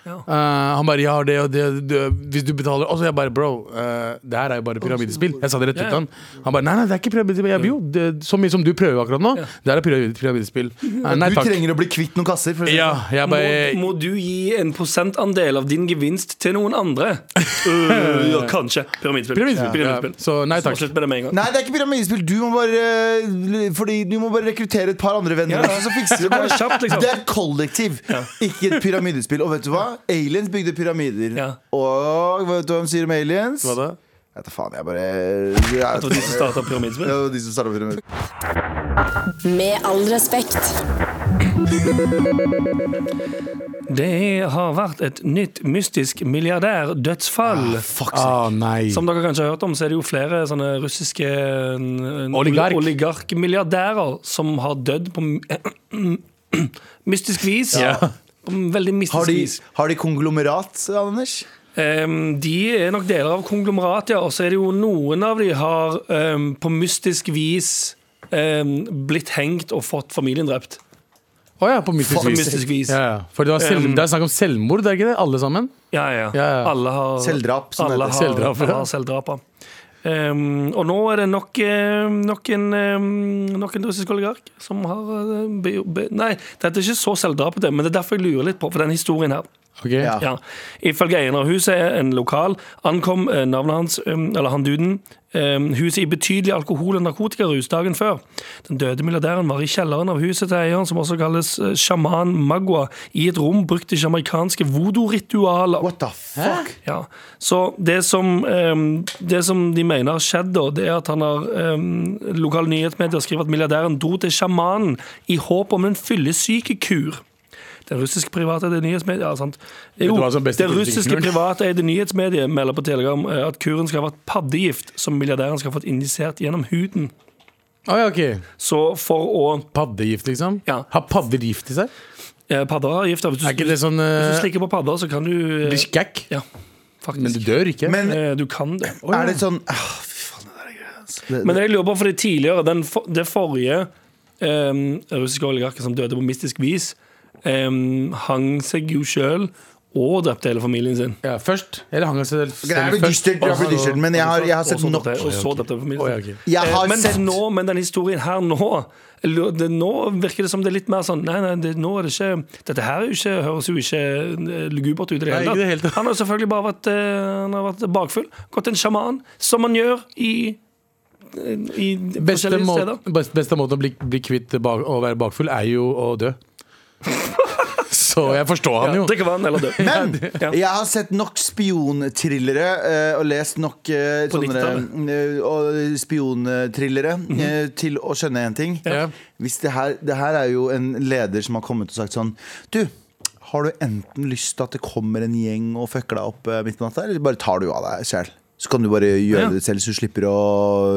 Speaker 3: Ja.
Speaker 4: Eh, han bare 'jeg har det og det, og det hvis du betaler' Og så jeg bare 'bro, eh, det her er jo bare pyramidespill'. Jeg sa det rett ut
Speaker 3: Ja, ja.
Speaker 4: til han. Han bare 'nei, nei, det er ikke pyramidespill'. Jeg, bare, jo, det, så mye som du prøver akkurat nå, det her er pyramid-
Speaker 3: [LAUGHS]
Speaker 4: pyramidespill. Eh, nei
Speaker 2: Du
Speaker 4: takk.
Speaker 2: trenger å bli kvitt noen kasser. For å si det
Speaker 4: Ja,
Speaker 2: sånn.
Speaker 4: jeg
Speaker 3: Må,
Speaker 4: bare
Speaker 3: må du gi en prosentandel av din gevinst til noen andre?
Speaker 4: [LAUGHS]
Speaker 3: Øh, ja, kanskje. Pyramidespill.
Speaker 4: Pyramidespill. Ja.
Speaker 3: Pyramidespill.
Speaker 4: Så nei takk.
Speaker 3: Slutt med det med en gang.
Speaker 2: Nei, det er ikke pyramidespill. Du må bare eh, Fordi du må bare rekruttere et par andre venner.
Speaker 3: Ja.
Speaker 2: og Så fikser du det.
Speaker 3: [LAUGHS] Bare kjapt, liksom.
Speaker 2: Det er et kollektiv, ikke et pyramidespill. Og vet du hva? Aliens bygde pyramider.
Speaker 3: Ja.
Speaker 2: Og vet du hva de sier om aliens?
Speaker 4: Hva da?
Speaker 2: Jeg vet da faen, jeg bare jeg,
Speaker 3: Det var de som startet pyramidespill.
Speaker 2: det var de som startet
Speaker 3: [LAUGHS]
Speaker 2: pyramider.
Speaker 5: Med all respekt.
Speaker 3: Det har vært et nytt mystisk milliardærdødsfall.
Speaker 4: Å Ah, nei.
Speaker 3: Som dere kanskje har hørt om, så er det jo flere sånne russiske n- n-
Speaker 4: Oligark.
Speaker 3: oligarkmilliardærer som har dødd på m- [CLEARS THROAT] mystisk vis. På veldig
Speaker 2: Har
Speaker 3: mystisk
Speaker 2: de,
Speaker 3: vis.
Speaker 2: har de konglomerat, Anders?
Speaker 3: Ehm, de er nok deler av konglomeratet, ja. Og så er det jo noen av de har ehm, på mystisk vis ehm, blitt hengt og fått familien drept.
Speaker 4: Å ja, på mystisk
Speaker 3: På
Speaker 4: vis.
Speaker 3: mystisk vis.
Speaker 4: Ja, ja. For det, var selv,
Speaker 3: Um,
Speaker 4: det er snakk om selvmord, det er ikke det? Alle sammen?
Speaker 3: Ja, ja.
Speaker 4: Ja, ja.
Speaker 3: Alle har
Speaker 2: Selvdrap, som det
Speaker 3: alle
Speaker 2: heter.
Speaker 3: har,
Speaker 4: Selvdrap, ja.
Speaker 3: alle har selvdrap. ja. Ehm, og nå er det nok, eh, nok en, um, nok en russisk oligark som har eh, be, be, Nei, dette er ikke så selvdrapete, men det er derfor jeg lurer litt på for den historien her.
Speaker 4: Ok?
Speaker 2: Ja.
Speaker 3: Ja. Ifølge eieren av huset, en lokal, ankom eh, navnet hans, um, eller han duden, um, huset i betydelig alkohol- og narkotikarus dagen før. Den døde milliardæren var i kjelleren av huset til eieren, som også kalles eh, sjaman Magua, i et rom brukt til jamaicanske voodoo-ritualer.
Speaker 2: What the fuck?
Speaker 3: Ja. Så det som, ehm, det som de mener har skjedd, da, det er at han har ehm, lokale nyhetsmedier skriver at milliardæren dro til sjamanen i håp om en fyllesykekur. Den russiske privateide nyhetsmediet ja, sant. Jo,
Speaker 4: hva som er beste
Speaker 3: det russiske
Speaker 4: politikeren?
Speaker 3: privateide nyhetsmediet melder på Telegram eh, at kuren skal ha vært paddegift som milliardæren skal ha fått injisert gjennom huden.
Speaker 4: Å, ja, ok.
Speaker 3: Så for å
Speaker 4: Paddegift, liksom?
Speaker 3: Ja.
Speaker 4: Har padder gift i seg?
Speaker 3: eh, Padder har gift. da. Hvis du,
Speaker 4: Er ikke det sånn
Speaker 3: hvis du
Speaker 4: uh,
Speaker 3: slikker på padder, så kan du eh,
Speaker 4: Blir skækk?
Speaker 3: Ja, faktisk.
Speaker 4: Men du dør ikke?
Speaker 2: Men
Speaker 3: Eh, du kan det.
Speaker 2: er det sånn ah, Fy faen, det der er greit.
Speaker 3: Men jeg lurer på, fordi tidligere, den, for- det forrige em, russiske oligarken som døde på mystisk vis, em, hang seg jo sjøl og drepte hele familien sin.
Speaker 4: ja, først? Eller hang han seg selv
Speaker 2: Det blir dystert, det blir dystert, men jeg har, jeg har
Speaker 3: Og
Speaker 2: sett
Speaker 3: så
Speaker 2: nok.
Speaker 3: drepte- Altså, Og så drepte hele familien
Speaker 4: Å,
Speaker 3: sin.
Speaker 4: ja, ok.
Speaker 2: Jeg
Speaker 3: Eh,
Speaker 2: har
Speaker 3: men,
Speaker 2: sett
Speaker 3: nå, men den historien her nå jeg lurer- det, Nå virker det som det er litt mer sånn Nei, nei, det, nå er det ikke Dette her er jo ikke, høres jo ikke eh, lugubert ut i det
Speaker 4: Nei, ikke
Speaker 3: hele
Speaker 4: det hele
Speaker 3: tatt.
Speaker 4: tatt.
Speaker 3: Han har jo selvfølgelig bare vært, eh, han har vært bakfull, gått til en sjaman, som man gjør i, eh, i
Speaker 4: Beste,
Speaker 3: forskjellige
Speaker 4: må,
Speaker 3: steder.
Speaker 4: best- beste måten å bli, bli kvitt bak, å være bakfull, er jo å dø. Så jeg forstår han jo.
Speaker 3: Drikke vann eller dø.
Speaker 2: Men
Speaker 3: [LAUGHS] Ja.
Speaker 2: jeg har sett nok spionthrillere eh, og lest nok eh,
Speaker 3: På Mm.
Speaker 2: sånne eh, og spionthrillere eh, til å skjønne én ting.
Speaker 4: Ja.
Speaker 2: Hvis det her, det her er jo en leder som har kommet og sagt sånn Du, har du enten lyst til at det kommer en gjeng og fucker deg opp eh, midt på natta, eller bare tar du av deg sjæl? Så kan du bare gjøre
Speaker 3: Ja.
Speaker 2: det selv, så du slipper å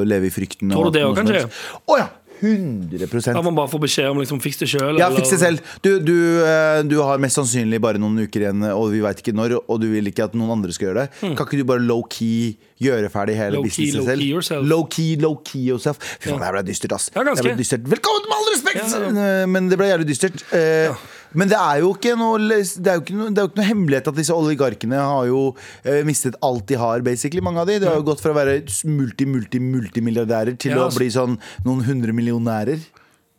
Speaker 2: leve i frykten.
Speaker 3: Tror du det
Speaker 2: og
Speaker 3: òg
Speaker 2: noe
Speaker 3: kan
Speaker 2: som
Speaker 3: skje?
Speaker 2: helst.» Å ja! 100
Speaker 3: Da må man bare få beskjed om liksom, fiks det sjøl.
Speaker 2: Ja, fiks det selv. Du, du, eh, du har mest sannsynlig bare noen uker igjen, og vi veit ikke når, og du vil ikke at noen andre skal gjøre det. Kan ikke du bare low-key gjøre ferdig hele
Speaker 3: Hmm. Low-key,
Speaker 2: businessen
Speaker 3: low-key
Speaker 2: selv?
Speaker 3: yourself.
Speaker 2: Low-key, low-key yourself. Fy faen, det her ble dystert, ass.
Speaker 3: Ja,
Speaker 2: Det
Speaker 3: ganske.
Speaker 2: her ble dystert. Velkommen, med all respekt!
Speaker 3: Ja, ja,
Speaker 2: Eh, Men det ble jævlig dystert. Eh, Men det er jo ikke noe Det er jo ikke noe, det er jo ikke noe hemmelighet at disse oligarkene har jo eh, mistet alt de har, basically, mange av de. De har jo gått fra å være multi-multi-multimilliardærer til
Speaker 3: Ja,
Speaker 2: å
Speaker 3: altså.
Speaker 2: bli sånn noen hundre millionærer.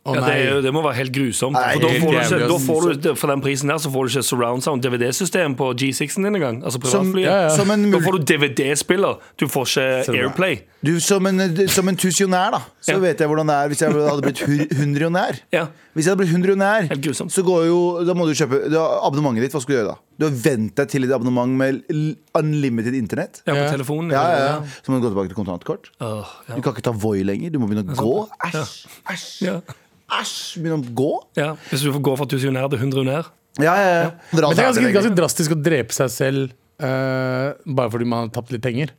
Speaker 4: Å
Speaker 3: Ja, det,
Speaker 4: nei.
Speaker 3: er jo, det må være helt grusomt.
Speaker 2: Nei,
Speaker 3: for, da
Speaker 2: helt
Speaker 3: får du
Speaker 4: jævlig,
Speaker 3: ikke, da
Speaker 4: ass.
Speaker 3: får du, for den prisen her så får du ikke surround sound DVD-system på G6-en din engang. Altså
Speaker 2: Som,
Speaker 3: privatflyet.
Speaker 4: Ja, ja.
Speaker 2: som en
Speaker 3: Da får du DVD-spiller, du får ikke Airplay.
Speaker 2: Du, som en, som en tusionær, da, så
Speaker 3: Ja.
Speaker 2: vet jeg hvordan det er hvis jeg hadde blitt hu- hundrionær.
Speaker 3: Ja.
Speaker 2: Hvis jeg hadde blitt hundrionær,
Speaker 3: Helt grusomt.
Speaker 2: så går jo Da må du kjøpe du har abonnementet ditt. Hva skal du gjøre da? Du har vent deg til et abonnement med l- unlimited internett.
Speaker 3: Ja, på
Speaker 4: Ja.
Speaker 3: telefonen.
Speaker 2: Ja, ja, ja. Så må du gå tilbake til kontantkort.
Speaker 3: Åh, ja.
Speaker 2: Du kan ikke ta Voi lenger. Du må begynne å gå. Æsj, æsj,
Speaker 3: Ja.
Speaker 2: æsj. Begynne å gå.
Speaker 3: Ja. Hvis du får gå fra tusenionær til hundreunær.
Speaker 2: Ja, ja, ja. Dra
Speaker 4: Men det er
Speaker 2: deg
Speaker 4: ganske,
Speaker 2: lenger.
Speaker 4: ganske drastisk å drepe seg selv eh, bare fordi man har tapt litt penger.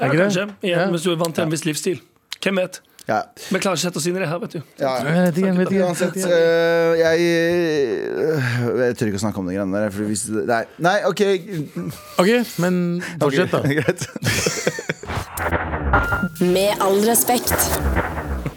Speaker 3: Ja,
Speaker 4: ikke det?
Speaker 3: kanskje. Ja,
Speaker 4: Ja.
Speaker 3: Hvis du er vant til en viss livsstil. Hvem vet?
Speaker 2: Ja,
Speaker 3: Vi klarer ikke å sette oss inn i det her, vet du.
Speaker 2: ja, ja.
Speaker 4: Jeg vet ikke, jeg vet ikke, jeg vet
Speaker 2: Uansett,
Speaker 4: ikke.
Speaker 2: øh, jeg øh, Jeg tør ikke å snakke om de greiene der. For hvis, nei, nei, OK.
Speaker 4: Ok, men fortsett,
Speaker 2: [LAUGHS]
Speaker 4: da.
Speaker 2: Greit.
Speaker 5: Med all respekt.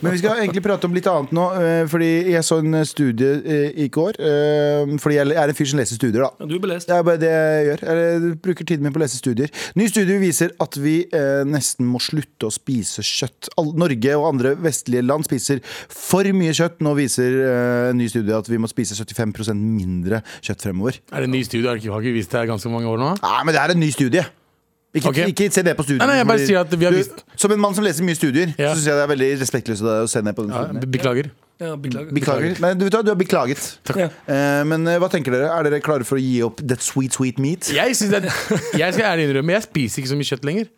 Speaker 2: Men vi skal egentlig prate om litt annet nå, eh, fordi jeg så en studie eh, i går. eh, Fordi jeg er en fyr som leser studier, da.
Speaker 3: Ja, Du er belest.
Speaker 2: Det er bare det jeg gjør. Jeg bruker tiden min på å lese studier. Ny studie viser at vi eh, nesten må slutte å spise kjøtt. All, Norge og andre vestlige land spiser for mye kjøtt. Nå viser eh, en ny studie at vi må spise 75 mindre kjøtt fremover.
Speaker 4: Er det en ny studio? Har ikke- Har ikke vist det her ganske mange år nå?
Speaker 2: Nei, men det er en ny studie. Ikke,
Speaker 4: Ok.
Speaker 2: ikke se ned på studier.
Speaker 4: Nei, nei, jeg bare sier at vi har visst-
Speaker 2: Som en mann som leser mye studier,
Speaker 4: Ja.
Speaker 2: så syns jeg det er veldig respektløst av deg å se ned på den
Speaker 4: Ja,
Speaker 2: studien.
Speaker 4: be- beklager.
Speaker 3: Ja, beklager.
Speaker 2: Beklager. Nei, du, vet hva, du har beklaget.
Speaker 3: Ja.
Speaker 2: Eh, men eh, hva tenker dere? Er dere klare for å gi opp that sweet, sweet meat?
Speaker 4: Jeg, synes det, er- jeg skal ærlig innrømme, jeg spiser ikke så mye kjøtt lenger.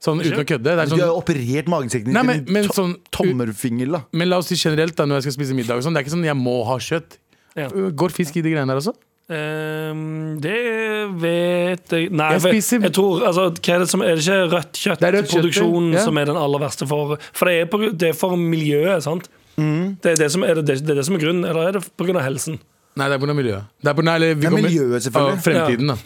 Speaker 4: Sånn uten å kødde. Det er
Speaker 2: Du har
Speaker 4: sånn,
Speaker 2: jo operert magesekken
Speaker 4: Nei,
Speaker 2: din
Speaker 4: men-
Speaker 2: til
Speaker 4: men
Speaker 2: en to-
Speaker 4: sånn-
Speaker 2: tommelfingel, da.
Speaker 4: men la oss si generelt, da, når jeg skal spise middag og sånn, det er ikke sånn jeg må ha kjøtt.
Speaker 3: Ja.
Speaker 4: Går fisk i de greiene der også?
Speaker 3: Ehm, det vet jeg Nei,
Speaker 4: Jeg
Speaker 3: for
Speaker 4: spiser-
Speaker 3: jeg tror altså, hva er, det som, er det ikke rødt
Speaker 4: Det er rødt kjøtt,
Speaker 3: kjøttproduksjon
Speaker 4: ja.
Speaker 3: som er den aller verste for For det er, på, gru- det er for miljøet, sant?
Speaker 4: Mm.
Speaker 3: Det, er det, som, er det, det er det som er grunnen, eller er det pga. helsen? [LAUGHS]
Speaker 4: Nei, det er pga. miljøet. Det er på, nei, eller, vi
Speaker 2: Det er
Speaker 4: kommer-
Speaker 2: miljøet, selvfølgelig.
Speaker 4: Ja, fremtiden, da.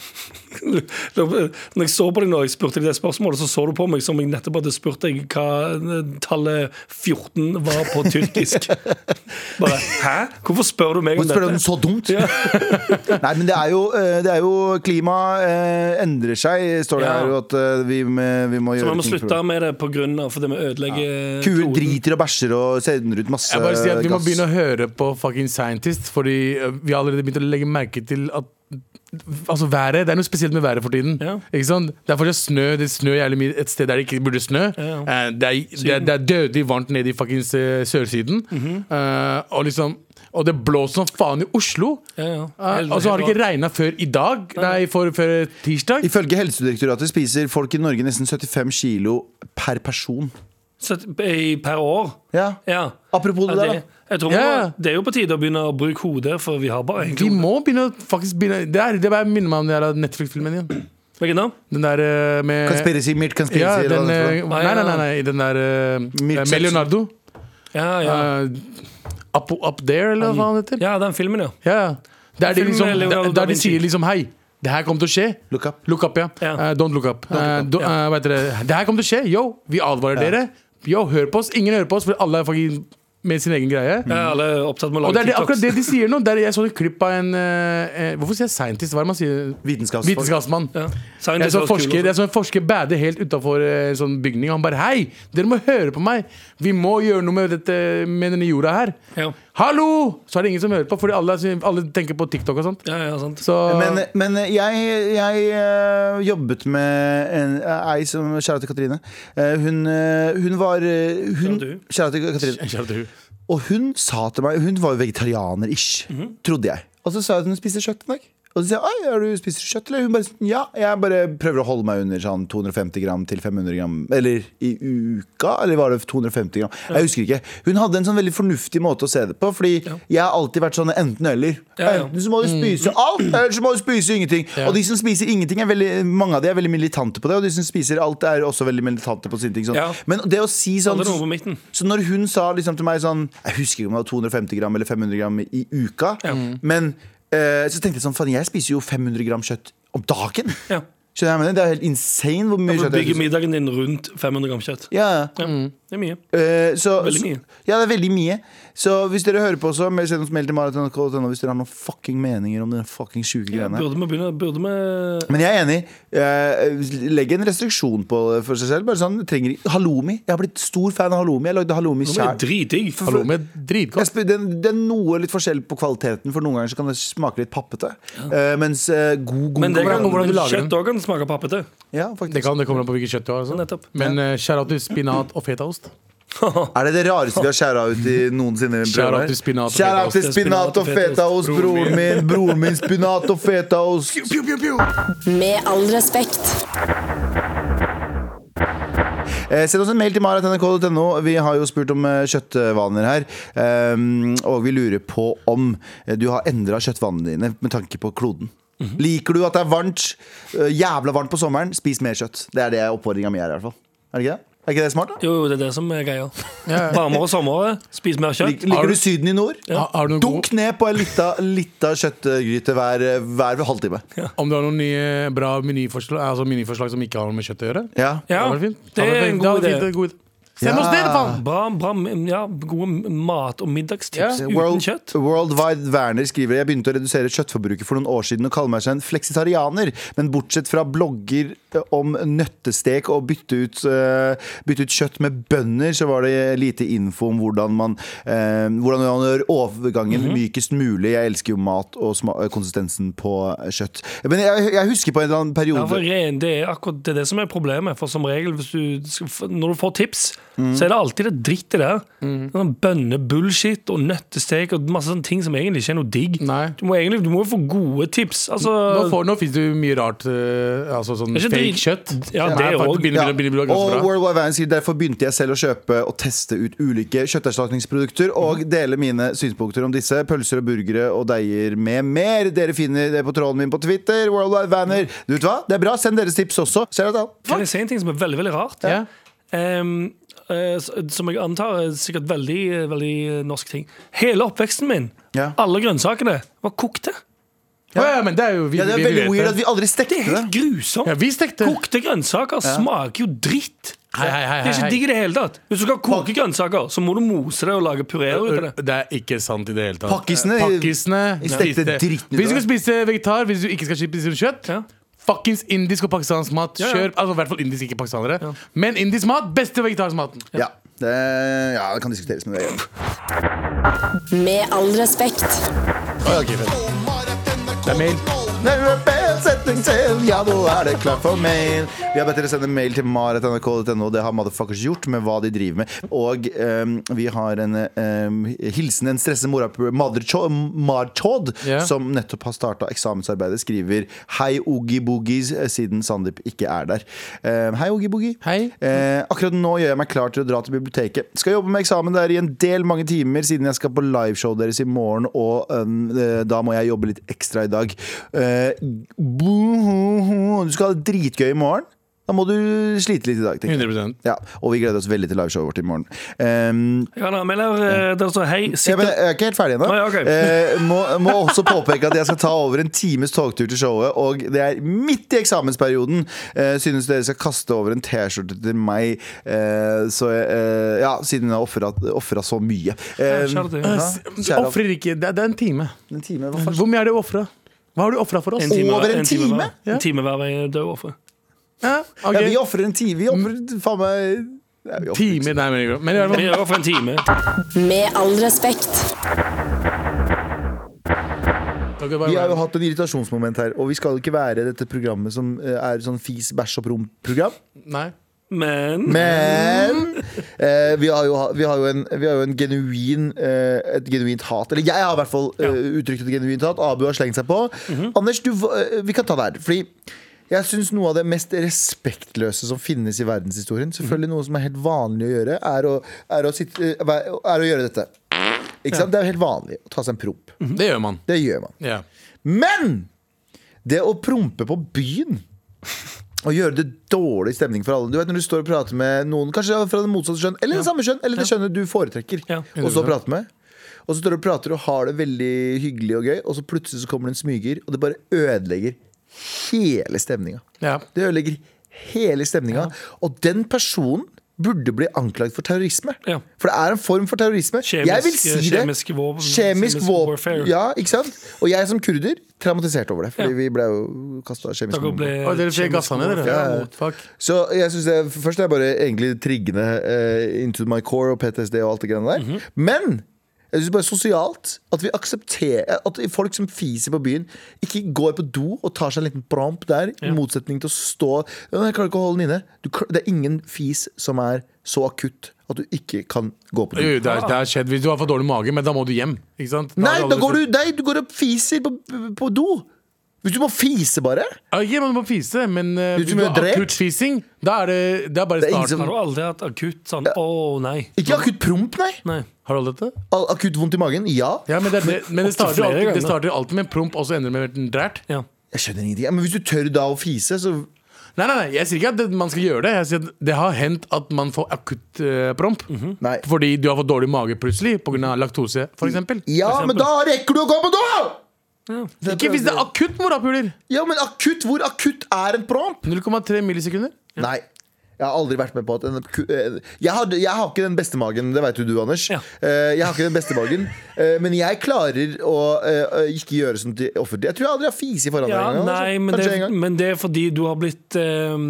Speaker 3: Når jeg så på deg nå, jeg spurte deg det spørsmålet, så så du på meg som jeg nettopp hadde spurt deg hva eh, tallet 14 var på
Speaker 4: [LAUGHS]
Speaker 3: tyrkisk. Bare hæ? Hvorfor spør du meg om
Speaker 2: Hvorfor spør du om
Speaker 3: dette?
Speaker 2: så dumt? [LAUGHS] Nei, men det er jo, eh, det er jo klima eh, endrer seg, står det
Speaker 3: Ja.
Speaker 2: her. og At eh, vi, må- vi må
Speaker 3: Så vi
Speaker 2: gjøre
Speaker 3: må
Speaker 2: ting for-
Speaker 3: slutte med det på grunn av fordi vi ødelegger
Speaker 2: Kuer
Speaker 3: kloden.
Speaker 2: driter og bæsjer og sender ut masse
Speaker 4: Jeg bare sier at Vi må
Speaker 2: gass.
Speaker 4: begynne å høre på fucking scientist, fordi eh, vi har allerede begynt å legge merke til at Altså været, Det er noe spesielt med været for tiden.
Speaker 3: Ja.
Speaker 4: Ikke sant? Det er fortsatt snø det snør jævlig mye et sted der det ikke burde snø.
Speaker 3: Ja.
Speaker 4: Eh, Det, er, det, er, det er dødelig varmt nede i fuckings eh, sørsiden.
Speaker 3: Mhm.
Speaker 4: Eh, og liksom Og det blåser som faen i Oslo!
Speaker 3: Ja, ja.
Speaker 4: Eh,
Speaker 3: Helt-
Speaker 4: og så har det
Speaker 3: helt
Speaker 4: ikke regna før i dag. Nei, for, før tirsdag.
Speaker 2: Ifølge Helsedirektoratet spiser folk i Norge nesten 75 kilo per person.
Speaker 3: Så- i- Per år?
Speaker 2: Ja.
Speaker 3: Ja.
Speaker 2: Apropos det
Speaker 3: Ja,
Speaker 2: der,
Speaker 3: det, jeg tror vi
Speaker 4: Ja.
Speaker 3: må, det er jo på tide å begynne å bruke hodet, for vi har bare én klode.
Speaker 4: Vi må begynne å faktisk begynne Det, er, det bare minner meg om den der Netflix-filmen igjen.
Speaker 3: Hvilken da?
Speaker 4: Den der eh, med
Speaker 2: Conspiracy, Mirt Conspiracy.
Speaker 4: Ja,
Speaker 2: eller hva
Speaker 4: den,
Speaker 2: det heter for noe.
Speaker 4: eh, nei, nei, nei, nei, den der eh,
Speaker 2: Midsection.
Speaker 4: Med Leonardo.
Speaker 3: Ja, ja.
Speaker 4: Eh, up, up There, eller hva faen heter.
Speaker 3: ja, den filmen, ja.
Speaker 4: Ja, ja. Der de,
Speaker 3: Filmen
Speaker 4: liksom,
Speaker 3: med Leonardo
Speaker 4: der,
Speaker 3: da
Speaker 4: der de
Speaker 3: Vinci.
Speaker 4: sier liksom hei, det her kommer til å skje.
Speaker 2: Look up.
Speaker 4: Look up, ja.
Speaker 3: Ja.
Speaker 4: Eh, don't look up. Eh, do, eh, hva heter det? det her kommer til å skje. Yo, vi advarer dere. Yo, hør på oss. Ingen hører på oss, for alle er fucking med sin egen greie.
Speaker 3: Jeg er Mm. alle opptatt med å
Speaker 4: Og
Speaker 3: lage
Speaker 4: det er det, akkurat
Speaker 3: TikToks.
Speaker 4: det de sier nå. Der jeg så et klipp av en eh, eh, Hvorfor sier jeg scientist? Hva er det man sier?
Speaker 2: Vitenskapsfolk.
Speaker 4: Vitenskapsmann.
Speaker 3: Ja.
Speaker 4: Jeg
Speaker 3: Scientist
Speaker 4: så,
Speaker 3: var
Speaker 4: en
Speaker 3: kul
Speaker 4: forsker,
Speaker 3: også.
Speaker 4: jeg så en forsker bade helt utafor en sånn bygning. Han bare Hei, dere må høre på meg! Vi må gjøre noe med, dette, med denne jorda her.
Speaker 3: Ja.
Speaker 4: Hallo! Så er det ingen som hører på, fordi alle, alle tenker på TikTok og sånt.
Speaker 3: Ja, ja, sant.
Speaker 4: Så
Speaker 3: eh,
Speaker 2: Men, men jeg, jeg eh, jobbet med en, ei som Kjære til Katrine. Eh, hun, eh, hun var eh, hun,
Speaker 3: Kjære til hun.
Speaker 2: Kjære til Katrine.
Speaker 4: Kjære du.
Speaker 2: Og hun sa til meg Hun var jo vegetarianer-ish,
Speaker 3: Mhm.
Speaker 2: trodde jeg. Og så sa jeg at hun spiste kjøtt en dag. Og så sier jeg «Oi, har du spist kjøtt, eller? Hun bare sånn, ja. Jeg bare prøver å holde meg under sånn 250 gram til 500 gram. Eller i uka, eller var det 250 gram? Jeg husker ikke. Hun hadde en sånn veldig fornuftig måte å se det på, fordi jeg har alltid vært sånn enten-eller.
Speaker 3: Ja, ja. Mm.
Speaker 2: Enten så må du spise alt, eller så må du spise ingenting. Og de som spiser ingenting, er veldig, mange av de er veldig militante på det, og de som spiser alt, er også veldig militante på sine ting. Sånn.
Speaker 3: Ja.
Speaker 2: Men det å si sånn
Speaker 3: Alle noe på midten.
Speaker 2: så når hun sa liksom til meg sånn Jeg husker ikke om det var 250 gram eller 500 gram i uka.
Speaker 3: Mm.
Speaker 2: Men eh, så tenkte jeg sånn Faen, jeg spiser jo 500 gram kjøtt om dagen.
Speaker 3: Ja.
Speaker 2: Skjønner du hva jeg mener? Det er helt insane hvor mye
Speaker 3: Du
Speaker 2: kjøtt jeg
Speaker 3: bygger
Speaker 2: spiser.
Speaker 3: middagen din rundt 500 gram kjøtt.
Speaker 2: Ja,
Speaker 3: Ja,
Speaker 4: Mm.
Speaker 3: det er mye.
Speaker 2: eh, så,
Speaker 3: Veldig
Speaker 2: så-
Speaker 3: mye.
Speaker 2: Ja, det er veldig mye. Så hvis dere hører på, så meld- send oss mail til maraton.nrk.no hvis dere har noen fucking meninger om den fucking sjuke greiene.
Speaker 3: Burde vi begynne Burde vi
Speaker 2: Men jeg er enig. Eh, Legg en restriksjon på det for seg selv. Bare sånn, trenger, halloumi. Jeg har blitt stor fan av halloumi. Jeg lagde halloumi
Speaker 3: Nå er
Speaker 2: sjæl.
Speaker 3: dritdigg.
Speaker 4: Hallo med
Speaker 2: Jeg
Speaker 4: dritgodt.
Speaker 2: spør, det, det er noe litt forskjell på kvaliteten, for noen ganger så kan det smake litt pappete. Eh, mens eh, god, god
Speaker 3: Men det
Speaker 4: Kommer an
Speaker 3: kan,
Speaker 4: på hvordan du lager den.
Speaker 3: kjøtt òg kan smake pappete.
Speaker 2: ja, faktisk.
Speaker 4: Det kan det kommer an på hvilket kjøtt du har. Altså.
Speaker 3: Nettopp.
Speaker 4: Men uh, kjære til spinat og fetaost.
Speaker 2: Er det det rareste vi har skjæra ut i noensinne?
Speaker 4: [LAUGHS] Shout out til spinat og
Speaker 2: Shout out til
Speaker 3: fetaost.
Speaker 2: spinat og fetaost, broren min! Broren min, spinat
Speaker 4: [LAUGHS]
Speaker 2: og fetaost!
Speaker 5: Med all respekt.
Speaker 2: Eh, send oss en mail til maratnrk.no. Vi har jo spurt om eh, kjøttvaner her. Ehm, og vi lurer på om eh, du har endra kjøttvanene dine med tanke på kloden. Liker du at det er varmt, eh, jævla varmt på sommeren, spis mer kjøtt. Det er det oppfordringa mi er. i hvert fall Er det ikke det? Er ikke det smart? da?
Speaker 3: Jo, det er det som er greia. Varmere og sommer, spis mer
Speaker 2: Lik,
Speaker 3: kjøtt.
Speaker 2: liker du Syden i nord?
Speaker 4: Har, har du noen
Speaker 2: Dunk
Speaker 4: gode,
Speaker 2: ned på en lita, lita kjøttgryte hver, eh, hver halvtime.
Speaker 4: om du har noen nye bra menyforslag, altså menyforslag som ikke har noe med kjøtt å gjøre?
Speaker 2: Ja.
Speaker 3: Ja,
Speaker 4: det hadde vært fint.
Speaker 3: det er en god idé.
Speaker 4: idé. Send oss
Speaker 2: Ja.
Speaker 4: det, faen!
Speaker 3: Bra, bra ja, gode mat- og middagstips
Speaker 4: Ja.
Speaker 3: uten
Speaker 2: Eh, World,
Speaker 3: kjøtt.
Speaker 2: Worldwide Werner skriver Jeg begynte å redusere kjøttforbruket for noen år siden og kaller meg seg en fleksitarianer, men bortsett fra blogger eh, om nøttestek og bytte ut, eh, bytte ut kjøtt med bønner, så var det lite info om hvordan man, eh, hvordan man gjør overgangen
Speaker 3: Mhm.
Speaker 2: mykest mulig. Jeg elsker jo mat og sma konsistensen på kjøtt. Men jeg, jeg husker på en eller annen periode
Speaker 3: Ja, for ren, det er akkurat det, er det som er problemet. For som regel, hvis du, skal- Når du får tips,
Speaker 4: Mm.
Speaker 3: så er det alltid det drittet der. Sånn Bønnebullshit og nøttestek og masse sånne ting som egentlig ikke er noe digg.
Speaker 4: Nei.
Speaker 3: Du må egentlig du må jo få gode tips. Altså,
Speaker 4: Nå, får, nå finnes det jo mye rart eh, Altså sånn
Speaker 3: Det er
Speaker 4: fake
Speaker 3: ikke drit-
Speaker 4: kjøtt
Speaker 3: Ja, det
Speaker 4: Nei,
Speaker 3: er
Speaker 4: faktisk
Speaker 3: også-
Speaker 4: begynner, begynner, begynner å bli ganske
Speaker 2: Og
Speaker 4: bra
Speaker 2: World Wide Vans sier derfor begynte jeg selv å kjøpe og teste ut ulike kjøtterstatningsprodukter og
Speaker 4: Mhm.
Speaker 2: dele mine synspunkter om disse. Pølser og burgere og deiger med mer. Dere finner det på tråden min på Twitter. World Wide Vaner. Du vet hva? Det er bra. Send deres tips også. Ser dere det?
Speaker 3: Kan jeg si en ting som er veldig, veldig rart?
Speaker 4: ja.
Speaker 3: Ehm, eh, s- som jeg antar er sikkert veldig, veldig norsk ting. Hele oppveksten min,
Speaker 2: Ja.
Speaker 3: alle grønnsakene, var kokte.
Speaker 4: Ja, ja, men det er jo vi,
Speaker 2: Ja, det er
Speaker 4: vi, vi
Speaker 2: veldig
Speaker 4: vet
Speaker 2: weird at
Speaker 4: det.
Speaker 2: vi aldri stekte
Speaker 3: Det er
Speaker 2: det.
Speaker 3: helt grusomt.
Speaker 4: Ja, vi stekte.
Speaker 3: Kokte grønnsaker smaker jo dritt.
Speaker 4: Hei, hei, hei,
Speaker 3: Det er
Speaker 4: hei,
Speaker 3: ikke digg i det hele tatt. Hvis du skal koke grønnsaker, så må du mose det og lage puré ut av det.
Speaker 4: Det er ikke sant i det hele tatt.
Speaker 2: Pakkisene-
Speaker 4: Pakkisene
Speaker 2: Vi stekte
Speaker 4: spiste-
Speaker 2: dritten ut
Speaker 4: Hvis du
Speaker 2: av
Speaker 4: skal spise vegetar, hvis du ikke skal spise kjøtt
Speaker 3: Ja.
Speaker 4: Fuckings indisk og pakistansk mat.
Speaker 3: Ja, ja.
Speaker 4: Kjør, altså I hvert fall indisk, ikke pakistanere. Men indisk mat, beste vegetarisk maten.
Speaker 2: Ja, det, ja, det kan diskuteres, men det er
Speaker 5: Med all respekt.
Speaker 4: Det er mail.
Speaker 2: Ja, nå er det klart for mail. Vi har bedt dere sende mail til maret.nrk.no. Det har motherfuckers gjort med hva de driver med. Og ehm, vi har en ehm, hilsen en stresset mora Marchod,
Speaker 4: Ja.
Speaker 2: som nettopp har starta eksamensarbeidet, skriver Hei, Oogie Boogies, siden Sandeep ikke er der. Ehm, hei, Oogie Boogie.
Speaker 4: Hei.
Speaker 2: Eh, akkurat nå gjør jeg meg klar til å dra til biblioteket. Skal jobbe med eksamen der i en del mange timer, siden jeg skal på liveshow deres i morgen, og øhm, eh, da må jeg jobbe litt ekstra i dag. Eh, buhuhu, du skal ha det dritgøy i morgen. Da må du slite litt i dag. tenker jeg.
Speaker 4: 100
Speaker 2: Ja, og vi gleder oss veldig til liveshowet vårt i morgen. Ehm,
Speaker 3: Jeg kan anmelde eh, der det står hei,
Speaker 2: ja, men
Speaker 3: sitter
Speaker 2: jeg er ikke helt ferdig ennå.
Speaker 3: Å, ja, ok.
Speaker 2: Eh, må, må også påpeke at jeg skal ta over en times togtur til showet, og det er midt i eksamensperioden. Eh, synes dere skal kaste over en T-skjorte til meg, eh, så jeg, eh, Ja, siden jeg har offret- offret så mye. Eh,
Speaker 3: Ja, kjære du.
Speaker 2: kjære du.
Speaker 4: Ofrer ikke. Det er, det er en time.
Speaker 2: en time, hva faen?
Speaker 4: Hvor mye er det å ofre? Hva har du ofra for oss?
Speaker 3: en time,
Speaker 2: over en time?
Speaker 3: hver.
Speaker 4: Ja.
Speaker 3: En time hver vei død offer.
Speaker 4: Ja, ok.
Speaker 2: Ja, vi offrer en time. Vi offrer faen meg ja, vi ofrer-
Speaker 4: Time, nei, men, men i hvert
Speaker 3: Vi
Speaker 4: fall-
Speaker 3: gjør det for en time.
Speaker 5: Med all respekt.
Speaker 4: Ok, bare-
Speaker 2: Vi har jo hatt en irritasjonsmoment her, og vi skal ikke være dette programmet som eh, er sånn fis, bæsj og promp-program.
Speaker 4: Nei.
Speaker 3: Men,
Speaker 2: Men eh, vi, har jo, ha- vi har jo en, vi har jo en genuin, eh, et genuint hat. Eller jeg har i hvert fall eh, uttrykt et genuint hat. Abu har slengt seg på. Anders, du, var- eh, vi kan ta det her. Fordi jeg syns noe av det mest respektløse som finnes i verdenshistorien, selvfølgelig noe som er helt vanlig å gjøre, er å, er å, sitte, eh, vær- er å gjøre dette. Ikke sant? Det er jo helt vanlig å ta seg en promp.
Speaker 4: Det gjør man.
Speaker 2: Det gjør man.
Speaker 4: Ja.
Speaker 2: Men det å prompe på byen og gjøre det dårlig stemning for alle Du vet Når du står og prater med noen, kanskje fra det motsatte kjønn, eller det samme kjønn, eller det kjønnet du foretrekker,
Speaker 3: Ja.
Speaker 2: og så prater med. Og så står du og prater og har det veldig hyggelig og gøy, og så plutselig så kommer det en smyger, og det bare ødelegger hele stemninga.
Speaker 4: Ja.
Speaker 2: Det ødelegger hele stemninga. Og den personen burde bli anklaget for terrorisme.
Speaker 3: Ja.
Speaker 2: For det er en form for terrorisme.
Speaker 3: Kjemisk-
Speaker 2: jeg vil si det.
Speaker 3: kjemisk våpen-
Speaker 2: Kjemisk
Speaker 3: kjemisk
Speaker 2: våpen-
Speaker 3: warfare.
Speaker 2: Ja, ikke sant? Og jeg som kurder, traumatisert over det. Fordi
Speaker 3: Ja.
Speaker 2: vi ble jo kasta kjemisk
Speaker 3: dere ble
Speaker 2: bombe.
Speaker 4: Og dere fikk gassa ned, dere.
Speaker 2: Ja, ja.
Speaker 4: Fuck.
Speaker 2: Så jeg synes det først er bare egentlig triggende eh, into my core og PTSD og alt det greiene der. Men jeg synes bare sosialt at vi aksepterer at folk som fiser på byen, ikke går på do og tar seg en liten promp der, i motsetning til å stå «Ja, Jeg klarer ikke å holde den inne. Du, kl- det er ingen fis som er så akutt at du ikke kan gå på do.
Speaker 4: Jo, det, er, det er skjedd hvis du har for dårlig mage, men da må du hjem. Ikke sant?
Speaker 2: Nei,
Speaker 4: har
Speaker 2: da går
Speaker 4: aldri-
Speaker 2: du, nei, du går og fiser på, på do. Hvis du må fise, bare.
Speaker 4: Ja, Ikke man må fise, men uh,
Speaker 2: Hvis du blir drept.
Speaker 4: akutt fising, da er det, det er bare
Speaker 2: Det er ingen
Speaker 4: starten.
Speaker 3: Har du aldri hatt akutt sånn Å, nei.
Speaker 2: Ikke akutt promp, nei.
Speaker 3: Nei.
Speaker 4: Har du aldri hatt det?
Speaker 2: Al- Akutt vondt i magen, ja.
Speaker 4: Ja, men det, er, det- men det, starter, jo
Speaker 3: flere
Speaker 4: alltid,
Speaker 3: ganger.
Speaker 4: det starter jo alltid med en promp, og så ender det med en drært.
Speaker 3: Ja.
Speaker 2: Jeg skjønner ingenting. Ja, Men hvis du tør da å fise, så
Speaker 4: Nei, nei, nei, jeg sier ikke at det, man skal gjøre det. Jeg sier at Det har hendt at man får akutt eh, promp.
Speaker 2: Nei.
Speaker 4: Fordi du har fått dårlig mage plutselig pga. laktose, f.eks.
Speaker 2: Ja, men da rekker du å gå på do!
Speaker 4: Ikke hvis det er akutt morapuler!
Speaker 2: Ja, men akutt, hvor akutt er en promp?
Speaker 4: 0,3 millisekunder.
Speaker 2: Nei. Jeg har aldri vært med på at en aku- eh, jeg har, jeg har ikke den beste magen, det vet jo du, Anders.
Speaker 3: Ja.
Speaker 2: Eh, Jeg har ikke den beste magen, eh, men jeg klarer å eh, ikke gjøre sånt i offentlig. Jeg tror jeg aldri har fise foran deg
Speaker 3: ja
Speaker 2: engang. altså.
Speaker 3: nei, men det,
Speaker 2: Kanskje en gang.
Speaker 3: men det er fordi du har blitt eh,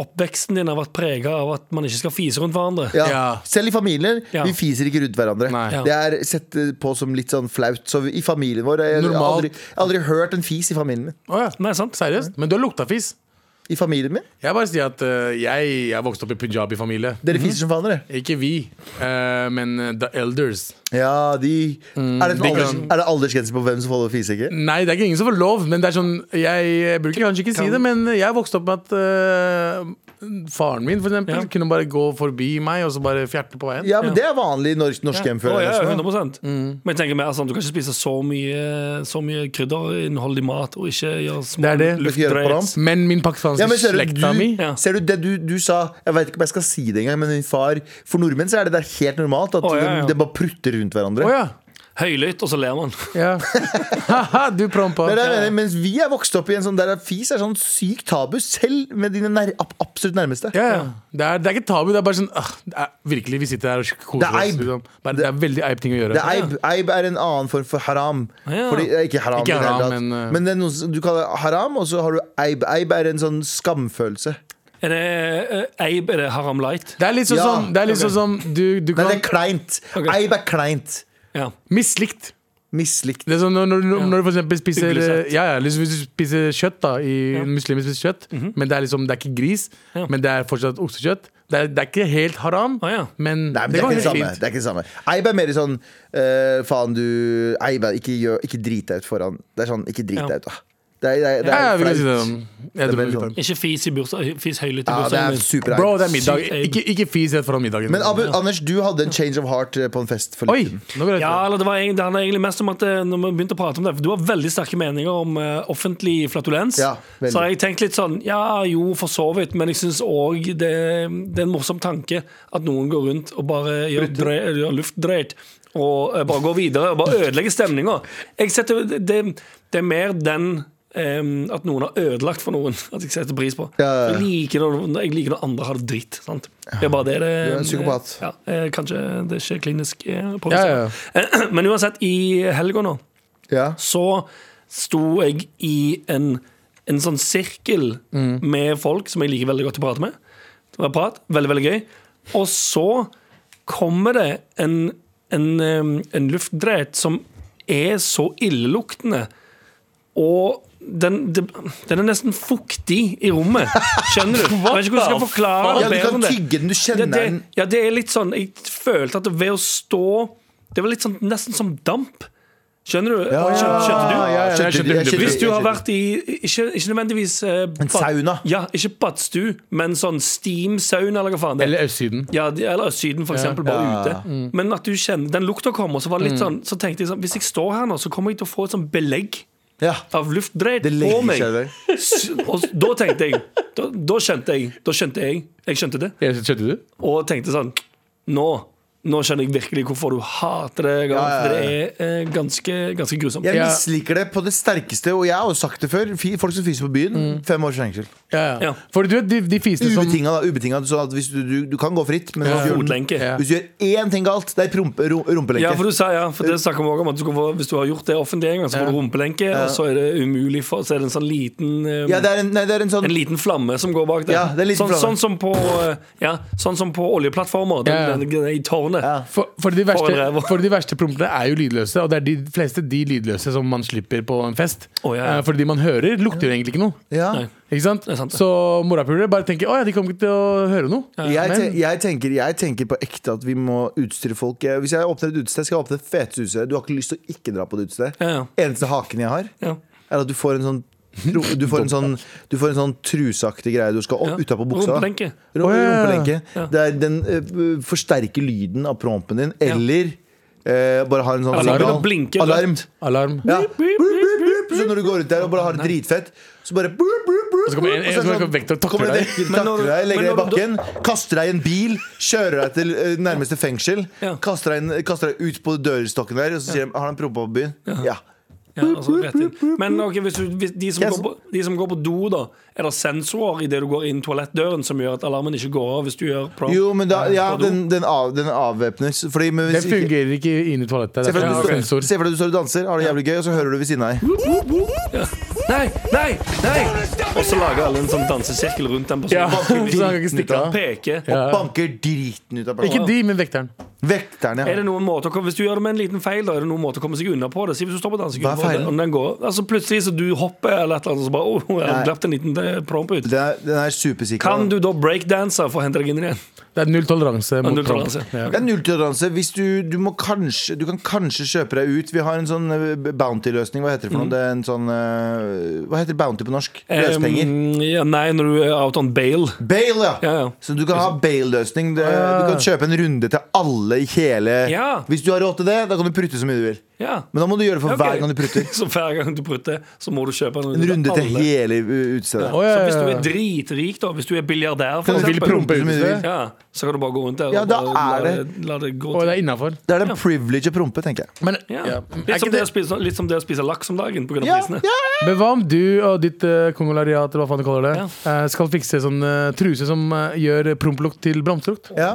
Speaker 3: Oppveksten din har vært prega av at man ikke skal fise rundt hverandre.
Speaker 2: Ja.
Speaker 4: Ja.
Speaker 2: Selv i familier.
Speaker 3: Ja.
Speaker 2: Vi fiser ikke rundt hverandre.
Speaker 4: Nei.
Speaker 3: Ja.
Speaker 2: Det er sett eh, på som litt sånn flaut. Så i familien vår Jeg jeg har
Speaker 4: Normalt.
Speaker 2: aldri, jeg har aldri hørt en fis i familien min.
Speaker 4: Å ja.
Speaker 3: Nei, sant?
Speaker 4: Seriøst? Men du har lukta fis.
Speaker 2: I familien min?
Speaker 4: Jeg bare sier at eh, jeg, jeg vokste opp i punjabi-familie.
Speaker 2: Dere fiser som faen, dere.
Speaker 4: Ikke vi, eh, men eh, the elders.
Speaker 2: Ja, de er, det en
Speaker 4: de
Speaker 2: alders,
Speaker 4: kan-
Speaker 2: er det aldersgrense på hvem som får lov til å fise, ikke?
Speaker 4: Nei, det er ikke ingen som får lov, men det er sånn Jeg, jeg bruker kanskje ikke si det, men jeg vokste opp med at eh, faren min for eksempel,
Speaker 3: Ja.
Speaker 4: kunne bare gå forbi meg og så bare fjerte på veien.
Speaker 2: Ja, men det er vanlig i norsk, norsk hjem
Speaker 3: Å,
Speaker 2: før.
Speaker 3: ja,
Speaker 2: eller sånn.
Speaker 3: 100
Speaker 4: Mm.
Speaker 3: Men jeg tenker mer sånn, du kan ikke spise så mye, så mye krydderinnhold i mat og ikke gjøre små
Speaker 4: Det er det.
Speaker 2: Ikke gjøre på
Speaker 3: luftdreier.
Speaker 4: Men min pakistanske
Speaker 2: Ja, men ser du,
Speaker 4: slekta
Speaker 2: du-
Speaker 4: mi
Speaker 3: Ja.
Speaker 2: Ser du det du, du sa Jeg vet ikke om jeg skal si det engang, men min far For nordmenn så er det der helt normalt at
Speaker 3: Å, ja, ja.
Speaker 2: De, de bare prutter rundt hverandre.
Speaker 4: Å ja.
Speaker 3: høylytt, og så ler man. [LAUGHS]
Speaker 2: [LAUGHS]
Speaker 4: Ja. Haha, du prompa.
Speaker 2: Det er det jeg mener, mens vi er vokst opp i en sånn der fis er sånn sykt tabu, selv med dine nær, ab- absolutt nærmeste.
Speaker 4: Ja, ja. Det, er, det er ikke tabu. Det er bare sånn ah, det er, Virkelig, vi sitter her og koser
Speaker 2: Det er
Speaker 4: oss.
Speaker 2: eib.
Speaker 4: Liksom. Bare, det er veldig eib ting å gjøre.
Speaker 2: Det er eib, eib er en annen form for haram.
Speaker 3: Ja.
Speaker 2: Fordi, eh, ikke haram,
Speaker 4: Ikke
Speaker 2: i det hele
Speaker 4: haram,
Speaker 2: tatt.
Speaker 4: men, eh,
Speaker 2: men det er noe som du kaller haram, og så har du eib. Eib er en sånn skamfølelse.
Speaker 3: Er det eh, Abe, er det Haram Light?
Speaker 4: Det er litt sånn
Speaker 2: Ja,
Speaker 4: som, det er litt sånn som du, du
Speaker 2: Nei,
Speaker 4: kan
Speaker 2: det er kleint.
Speaker 3: Ok.
Speaker 2: Eib er kleint.
Speaker 3: Ja.
Speaker 4: Mislikt.
Speaker 2: Mislikt.
Speaker 4: Det er sånn når, når, når, når du for eksempel spiser
Speaker 3: Hyggelig
Speaker 4: eh,
Speaker 3: sett.
Speaker 4: ja, ja, liksom Hvis du spiser kjøtt, da i, Muslimer spiser kjøtt, men det er liksom Det er ikke gris,
Speaker 3: Mhm. Ja.
Speaker 4: men det er fortsatt oksekjøtt. Det er, det er ikke helt haram,
Speaker 3: Å, ja.
Speaker 4: men,
Speaker 2: Nei, men
Speaker 4: det
Speaker 2: det, er
Speaker 4: går
Speaker 2: ikke det,
Speaker 4: helt
Speaker 2: samme.
Speaker 4: fint.
Speaker 2: det er ikke det samme. Eib er mer sånn eh, Faen, du Eib er ikke, gjør- ikke drit deg ut foran. Det er sånn, ikke drit
Speaker 3: Ja.
Speaker 2: deg ut, da. Det er, det er, det
Speaker 4: Ja,
Speaker 2: er
Speaker 4: ja, vi kan si det
Speaker 2: flaut.
Speaker 4: sånn. Jeg
Speaker 2: Det er veldig
Speaker 4: tror vi tar
Speaker 2: sånn.
Speaker 4: den.
Speaker 3: Ikke fis, i bursdag, fis høylytt i
Speaker 2: Ja, det
Speaker 3: bursdagen
Speaker 2: er
Speaker 3: min.
Speaker 2: supereib.
Speaker 4: Bro, det er middag.
Speaker 3: Sykt eib.
Speaker 4: Ikke, ikke fis rett foran middagen.
Speaker 2: Men Abu, Anders, du hadde en change of heart eh, på en fest for
Speaker 4: Oi!
Speaker 2: liten.
Speaker 4: Nå ble det
Speaker 3: Ja, eller det, var egentlig, det handler egentlig mest om at eh, Når vi begynte å prate om det For du har veldig sterke meninger om eh, offentlig flatulens
Speaker 2: Ja, veldig.
Speaker 3: Så har jeg tenkt litt sånn Ja, jo, for så vidt Men jeg synes også det, det er en morsom tanke At noen går rundt og bare gjør, drøy, gjør luftdrøyt Og eh, bare går videre Og bare ødelegger stemninger Jeg setter Det, det er mer den em, at noen har ødelagt for noen At jeg setter pris på
Speaker 2: Ja, ja, ja.
Speaker 3: jeg, liker når, jeg liker når andre har det dritt sant? Det er bare det det
Speaker 2: Du er en psykopat.
Speaker 3: ja, eh, Kanskje det er ikke klinisk eh, påvist
Speaker 4: Ja, ja, ja.
Speaker 3: [CLEARS THROAT] men uansett, i helga nå
Speaker 2: Ja.
Speaker 3: så sto jeg i en, en sånn sirkel
Speaker 2: Mm.
Speaker 3: med folk som jeg liker veldig godt å prate med. Det var prat, veldig, veldig gøy. Og så kommer det en, en, um, en luftdreit som er så illeluktende, og den, det- den er nesten fuktig i rommet.
Speaker 2: [LAUGHS]
Speaker 3: Skjønner du? Jeg vet ikke hvordan jeg skal forklare
Speaker 2: Ja,
Speaker 3: det
Speaker 2: du
Speaker 3: bedre
Speaker 2: kan
Speaker 3: enn det.
Speaker 2: tygge den, du
Speaker 3: Ja,
Speaker 2: kjenner
Speaker 3: det,
Speaker 2: den.
Speaker 3: ja, det er litt sånn Jeg følte at ved å stå Det var litt sånn, nesten som damp. Skjønner du? Skjønte, skjønte du?
Speaker 2: Ja, ja,
Speaker 4: Skjønte
Speaker 2: jeg
Speaker 4: du?
Speaker 2: skjønte- jeg
Speaker 3: Hvis du
Speaker 2: skjønte-
Speaker 3: har vært i Ikke, ikke nødvendigvis eh, bad-
Speaker 2: sauna.
Speaker 3: Ja, ikke badstue, men sånn steam-sauna, eller hva faen det er.
Speaker 4: Eller Østsiden.
Speaker 3: Ja, de- eller Syden for eksempel, bare
Speaker 2: Ja.
Speaker 3: ute. Men at du kjenner Den lukta kom, og så var det litt sånn Så tenkte jeg sånn Hvis jeg står her nå, så kommer jeg til å få et sånn belegg
Speaker 2: Ja.
Speaker 3: av luftdreit
Speaker 2: Det
Speaker 3: på
Speaker 2: legger
Speaker 3: meg.
Speaker 2: seg der.
Speaker 3: S- Og da tenkte jeg Da, da skjønte jeg. Da skjønte jeg. Jeg skjønte det.
Speaker 4: Ja, Skjønte du?
Speaker 3: Og tenkte sånn Nå nå skjønner jeg virkelig hvorfor du hater det. Gavan,
Speaker 2: Ja, ja, ja.
Speaker 3: For det er eh, ganske, ganske grusomt.
Speaker 2: Jeg
Speaker 4: Ja.
Speaker 2: misliker det på det sterkeste, og jeg har jo sagt det før. Fi- Folk som fiser på byen,
Speaker 4: Mm.
Speaker 2: fem års fengsel.
Speaker 4: Ja,
Speaker 3: Ja.
Speaker 4: ja. For du vet, de, de fisene som
Speaker 2: Ubetinga, da. Ubetinga, sånn at hvis du, du, du kan gå fritt, men hvis, du gjør,
Speaker 3: Fotlenke.
Speaker 4: Ja.
Speaker 2: hvis du gjør én ting galt, det er prompe, rom, rumpelenke.
Speaker 3: Ja, for du sa ja, for det snakker vi også om at du skal få, Hvis du har gjort det offentlig en gang, så får du rumpelenke, og så er det umulig for, Så er det en sånn liten eh,
Speaker 2: Ja, det er en, nei, det er en sånn
Speaker 3: En liten flamme som går bak der.
Speaker 2: Ja, det er en liten
Speaker 3: sånn,
Speaker 2: flamme.
Speaker 3: sånn, som på, eh, ja, sånn som på oljeplattformer. Den,
Speaker 4: Ja, ja.
Speaker 3: den, den er I tårnet.
Speaker 2: Ja.
Speaker 4: for, for de
Speaker 3: For
Speaker 4: verste,
Speaker 3: ræva.
Speaker 4: for de verste prompene er jo lydløse, og det er de fleste de lydløse som man slipper på en fest.
Speaker 3: Å, ja, ja.
Speaker 4: Eh, For de man hører, lukter jo egentlig ikke noe.
Speaker 2: ja.
Speaker 3: Nei.
Speaker 4: Ikke sant?
Speaker 3: er sant, det.
Speaker 4: Så morapulere bare tenker å ja, de kommer ikke til å høre noe.
Speaker 2: Jeg,
Speaker 4: Men-
Speaker 2: te- jeg, tenker, jeg tenker på ekte at vi må utstyre folk. Eh, Hvis jeg åpner et utested, skal jeg åpne det feteste utestedet. Du har ikke lyst til å ikke dra på det utestedet.
Speaker 3: Ja, ja.
Speaker 2: Eneste haken jeg har,
Speaker 3: Ja.
Speaker 2: er at du får en sånn tro- du får, en sånn, du får en sånn truseaktig greie du skal opp
Speaker 3: Ja.
Speaker 2: utapå buksa.
Speaker 3: Rumpelenke.
Speaker 2: Ru-
Speaker 4: Å, ja, ja, ja.
Speaker 2: Rumpelenke.
Speaker 3: Ja.
Speaker 2: Det er den eh, forsterker lyden av prompen din, eller eh, bare har en sånn
Speaker 3: Eller
Speaker 2: signal.
Speaker 3: bare blinker
Speaker 2: Alarm.
Speaker 3: rødt.
Speaker 4: Alarm.
Speaker 2: Ja. Så når du går ut der og bare har det dritfett, så bare Og
Speaker 4: så kommer en- en som kommer vekt
Speaker 2: sånn,
Speaker 4: og takler deg.
Speaker 3: Men når du-
Speaker 2: Takler deg, legger deg i
Speaker 3: men når du-
Speaker 2: bakken, kaster deg i en bil, kjører deg til eh, nærmeste fengsel,
Speaker 3: Ja.
Speaker 2: kaster deg, inn- kaster deg ut på dørstokken der, og så sier de 'Har han prompa på byen?' Ja.
Speaker 3: Ja, altså, rett inn. Men ok, hvis du, hvis de, som
Speaker 2: Jeg
Speaker 3: går på, de som går på do, da, er det sensorer idet du går inn toalettdøren som gjør at alarmen ikke går av hvis du gjør prompt?
Speaker 2: Jo, men da, ja,
Speaker 3: På do.
Speaker 2: den, den, av, den avvæpnes. Fordi, men
Speaker 4: Den
Speaker 2: hvis ikke
Speaker 4: fungerer ikke inne i toalettet.
Speaker 2: Se for
Speaker 4: Det er
Speaker 2: deg at du
Speaker 4: ja,
Speaker 2: står-
Speaker 4: sensor.
Speaker 2: se for deg at du står og danser, har det jævlig gøy, og så hører du ved siden av deg.
Speaker 3: Nei, nei, nei! Og så lager alle en sånn dansesirkel rundt den
Speaker 4: Ja,
Speaker 3: personen.
Speaker 4: [LAUGHS]
Speaker 3: liksom
Speaker 4: så han kan ikke stikke av.
Speaker 3: Peker.
Speaker 2: Og
Speaker 4: Ja.
Speaker 2: banker driten ut av
Speaker 4: Ikke
Speaker 2: personen.
Speaker 4: de, men vekteren.
Speaker 2: Vekterne.
Speaker 3: Er det noen måte å, komme- Hvis du gjør det med en liten feil, da, er det noen måte å komme seg unna på det? Si hvis du står på
Speaker 2: Hva er feilen?
Speaker 3: dansegulvet og den går Altså Plutselig så du hopper eller et eller annet, og så bare oh, jeg har
Speaker 2: Nei.
Speaker 3: glemt en liten eh, promp ut.
Speaker 2: Den er, den er supersikker.
Speaker 3: Kan du da breakdanse for å hente deg inn igjen?
Speaker 4: Det er null toleranse mot
Speaker 3: Null
Speaker 4: Trump.
Speaker 3: toleranse.
Speaker 4: Ja.
Speaker 2: Det er nulltoleranse. Hvis du, du, må kanskje, du kan kanskje kjøpe deg ut. Vi har en sånn eh, bounty-løsning. Hva heter det for noe? Det er en sånn eh, Hva heter bounty på norsk? Løspenger.
Speaker 3: Mm. Um, ja, nei, når du er out on bail.
Speaker 2: Bail, ja.
Speaker 3: Ja, ja.
Speaker 2: Så du kan ha bail-løsning. Det- Du kan kjøpe en runde til alle i hele
Speaker 3: Ja.
Speaker 2: Hvis du har råd til det, da kan du prutte så mye du vil.
Speaker 3: Ja.
Speaker 2: Men da må du gjøre det for
Speaker 3: Ja, ok.
Speaker 2: hver gang du prutter.
Speaker 3: Så hver gang du prutter, så må du kjøpe en
Speaker 2: En runde til
Speaker 3: alle.
Speaker 2: hele uh, utestedet.
Speaker 4: Å, ja,
Speaker 3: Så hvis du
Speaker 4: ja,
Speaker 3: er
Speaker 4: ja.
Speaker 3: dritrik, da, hvis du er biljardær, for
Speaker 2: Kan du vil
Speaker 3: eksempel,
Speaker 2: prompe ut med det?
Speaker 3: ja, så kan du bare gå rundt der
Speaker 2: Ja,
Speaker 3: og
Speaker 2: da
Speaker 3: bare la,
Speaker 2: er
Speaker 3: det, la det gå
Speaker 4: Og
Speaker 3: til.
Speaker 4: det er innafor.
Speaker 2: Det er en privilege å prompe, tenker jeg.
Speaker 4: Men,
Speaker 3: Ja.
Speaker 4: ja. Er
Speaker 3: Litt, som
Speaker 4: ikke
Speaker 3: det
Speaker 4: det,
Speaker 3: å spise, litt som det å spise laks om dagen pga.
Speaker 2: Ja,
Speaker 3: prisene.
Speaker 2: ja.
Speaker 4: men hva om du og ditt uh, kongolariat eller hva faen du kaller det, eh, skal fikse sånn eh, truse som eh, gjør prompelukt til bramselukt?
Speaker 2: Ja.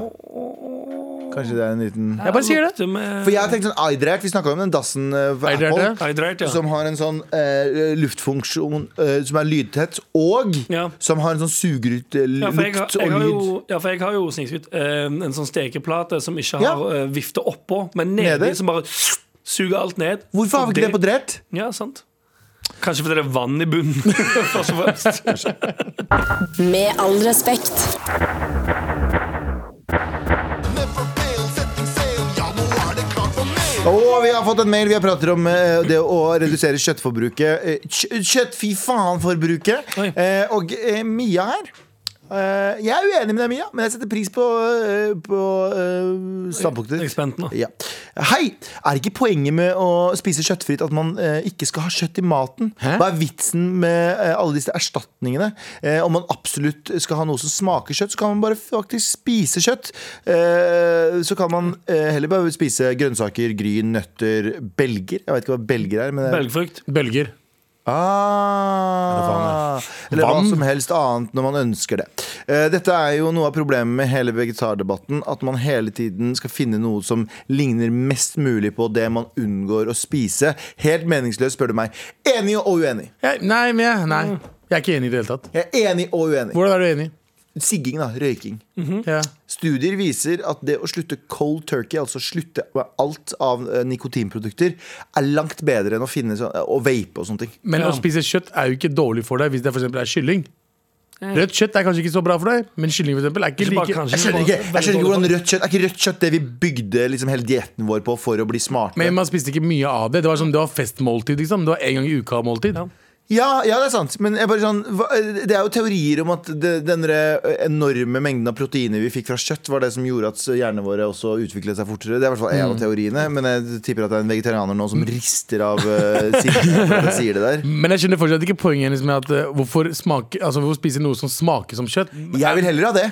Speaker 2: Kanskje det er en liten
Speaker 4: Jeg bare sier det.
Speaker 3: Lukter med-
Speaker 2: For jeg har tenkt sånn Idrert, vi snakka om den dassen eh, for
Speaker 4: Idrert,
Speaker 2: Apple.
Speaker 4: ja.
Speaker 3: Hydrate, ja.
Speaker 2: Som har en sånn eh, luftfunksjon eh, som er lydtett, og
Speaker 3: Ja.
Speaker 2: som har en sånn suger ut eh,
Speaker 3: Ja, for jeg, har-
Speaker 2: lukt
Speaker 3: jeg
Speaker 2: og
Speaker 3: har
Speaker 2: lyd.
Speaker 3: jo, ja, for jeg har jo snikskryt. eh, en sånn stekeplate som ikke
Speaker 2: Ja.
Speaker 3: har eh, vifte oppå, men nedi,
Speaker 2: Nede?
Speaker 3: som bare suger alt ned.
Speaker 2: Hvorfor har vi ikke det på Drert?
Speaker 3: Ja, sant. Kanskje fordi det er vann i bunnen. [LAUGHS] først og fremst.
Speaker 5: Med all respekt.
Speaker 2: Og vi har fått en mail. Vi har pratet om eh, det å redusere kjøttforbruket. Eh, kjø- Kjøtt, fy faen-forbruket.
Speaker 3: Oi.
Speaker 2: Eh, og eh, Mia her. eh, jeg er uenig med deg, Mia, men jeg setter pris på, eh, på eh, standpunktet
Speaker 3: Jeg er
Speaker 2: ditt.
Speaker 3: spent nå.
Speaker 2: [LAUGHS] Ja. Hei! Er ikke poenget med å spise kjøttfritt at man eh, ikke skal ha kjøtt i maten?
Speaker 4: Hæ?
Speaker 2: Hva er vitsen med eh, alle disse erstatningene? Eh, om man absolutt skal ha noe som smaker kjøtt, så kan man bare faktisk spise kjøtt. Eh, så kan man eh, heller bare spise grønnsaker, gryn, nøtter, belger. Jeg vet ikke hva belger er, men det er
Speaker 3: Belgfrukt.
Speaker 4: Bølger.
Speaker 2: Ah, eller hva som helst annet når man ønsker det. Eh, Dette er jo noe av problemet med hele vegetardebatten. At man hele tiden skal finne noe som ligner mest mulig på det man unngår å spise. Helt meningsløst, spør du meg. Enig og uenig.
Speaker 4: Jeg, nei, men jeg, nei,
Speaker 3: Mm.
Speaker 4: jeg er ikke enig i det hele tatt.
Speaker 2: Jeg er enig og uenig.
Speaker 4: Hvordan er du enig?
Speaker 2: Sigging, da. Røyking.
Speaker 3: Mm.
Speaker 4: Ja.
Speaker 2: Studier viser at det å slutte cold turkey, altså slutte med alt av eh, nikotinprodukter, er langt bedre enn å finne sånn, å vape og sånne ting.
Speaker 4: Men
Speaker 3: Ja.
Speaker 4: å spise kjøtt er jo ikke dårlig for deg hvis det for eksempel er kylling. Rødt kjøtt er kanskje ikke så bra for deg, men kylling for eksempel er ikke
Speaker 3: Ikke Eh. bare
Speaker 4: like
Speaker 2: Jeg
Speaker 3: kanskje.
Speaker 2: skjønner ikke, jeg skjønner ikke hvordan rødt kjøtt Er ikke rødt kjøtt det vi bygde liksom hele dietten vår på for å bli smarte?
Speaker 4: Men man spiste ikke mye av det. Det var, sånn, det var festmåltid. Liksom. Det var en gang i uka måltid.
Speaker 3: Ja.
Speaker 2: Ja, ja, det er sant. Men jeg bare sånn, hva- det er jo teorier om at det, den der eh, enorme mengden av proteiner vi fikk fra kjøtt, var det som gjorde at hjernene våre også utviklet seg fortere. Det er i hvert fall
Speaker 4: Mm.
Speaker 2: en av teoriene. Men jeg tipper at det er en vegetarianer nå som rister av uh, sier, [LAUGHS] sier det der.
Speaker 4: Men jeg skjønner fortsatt ikke poenget hennes med at eh, hvorfor, smake, altså, hvorfor spise noe som smaker som kjøtt.
Speaker 2: Jeg vil heller ha det.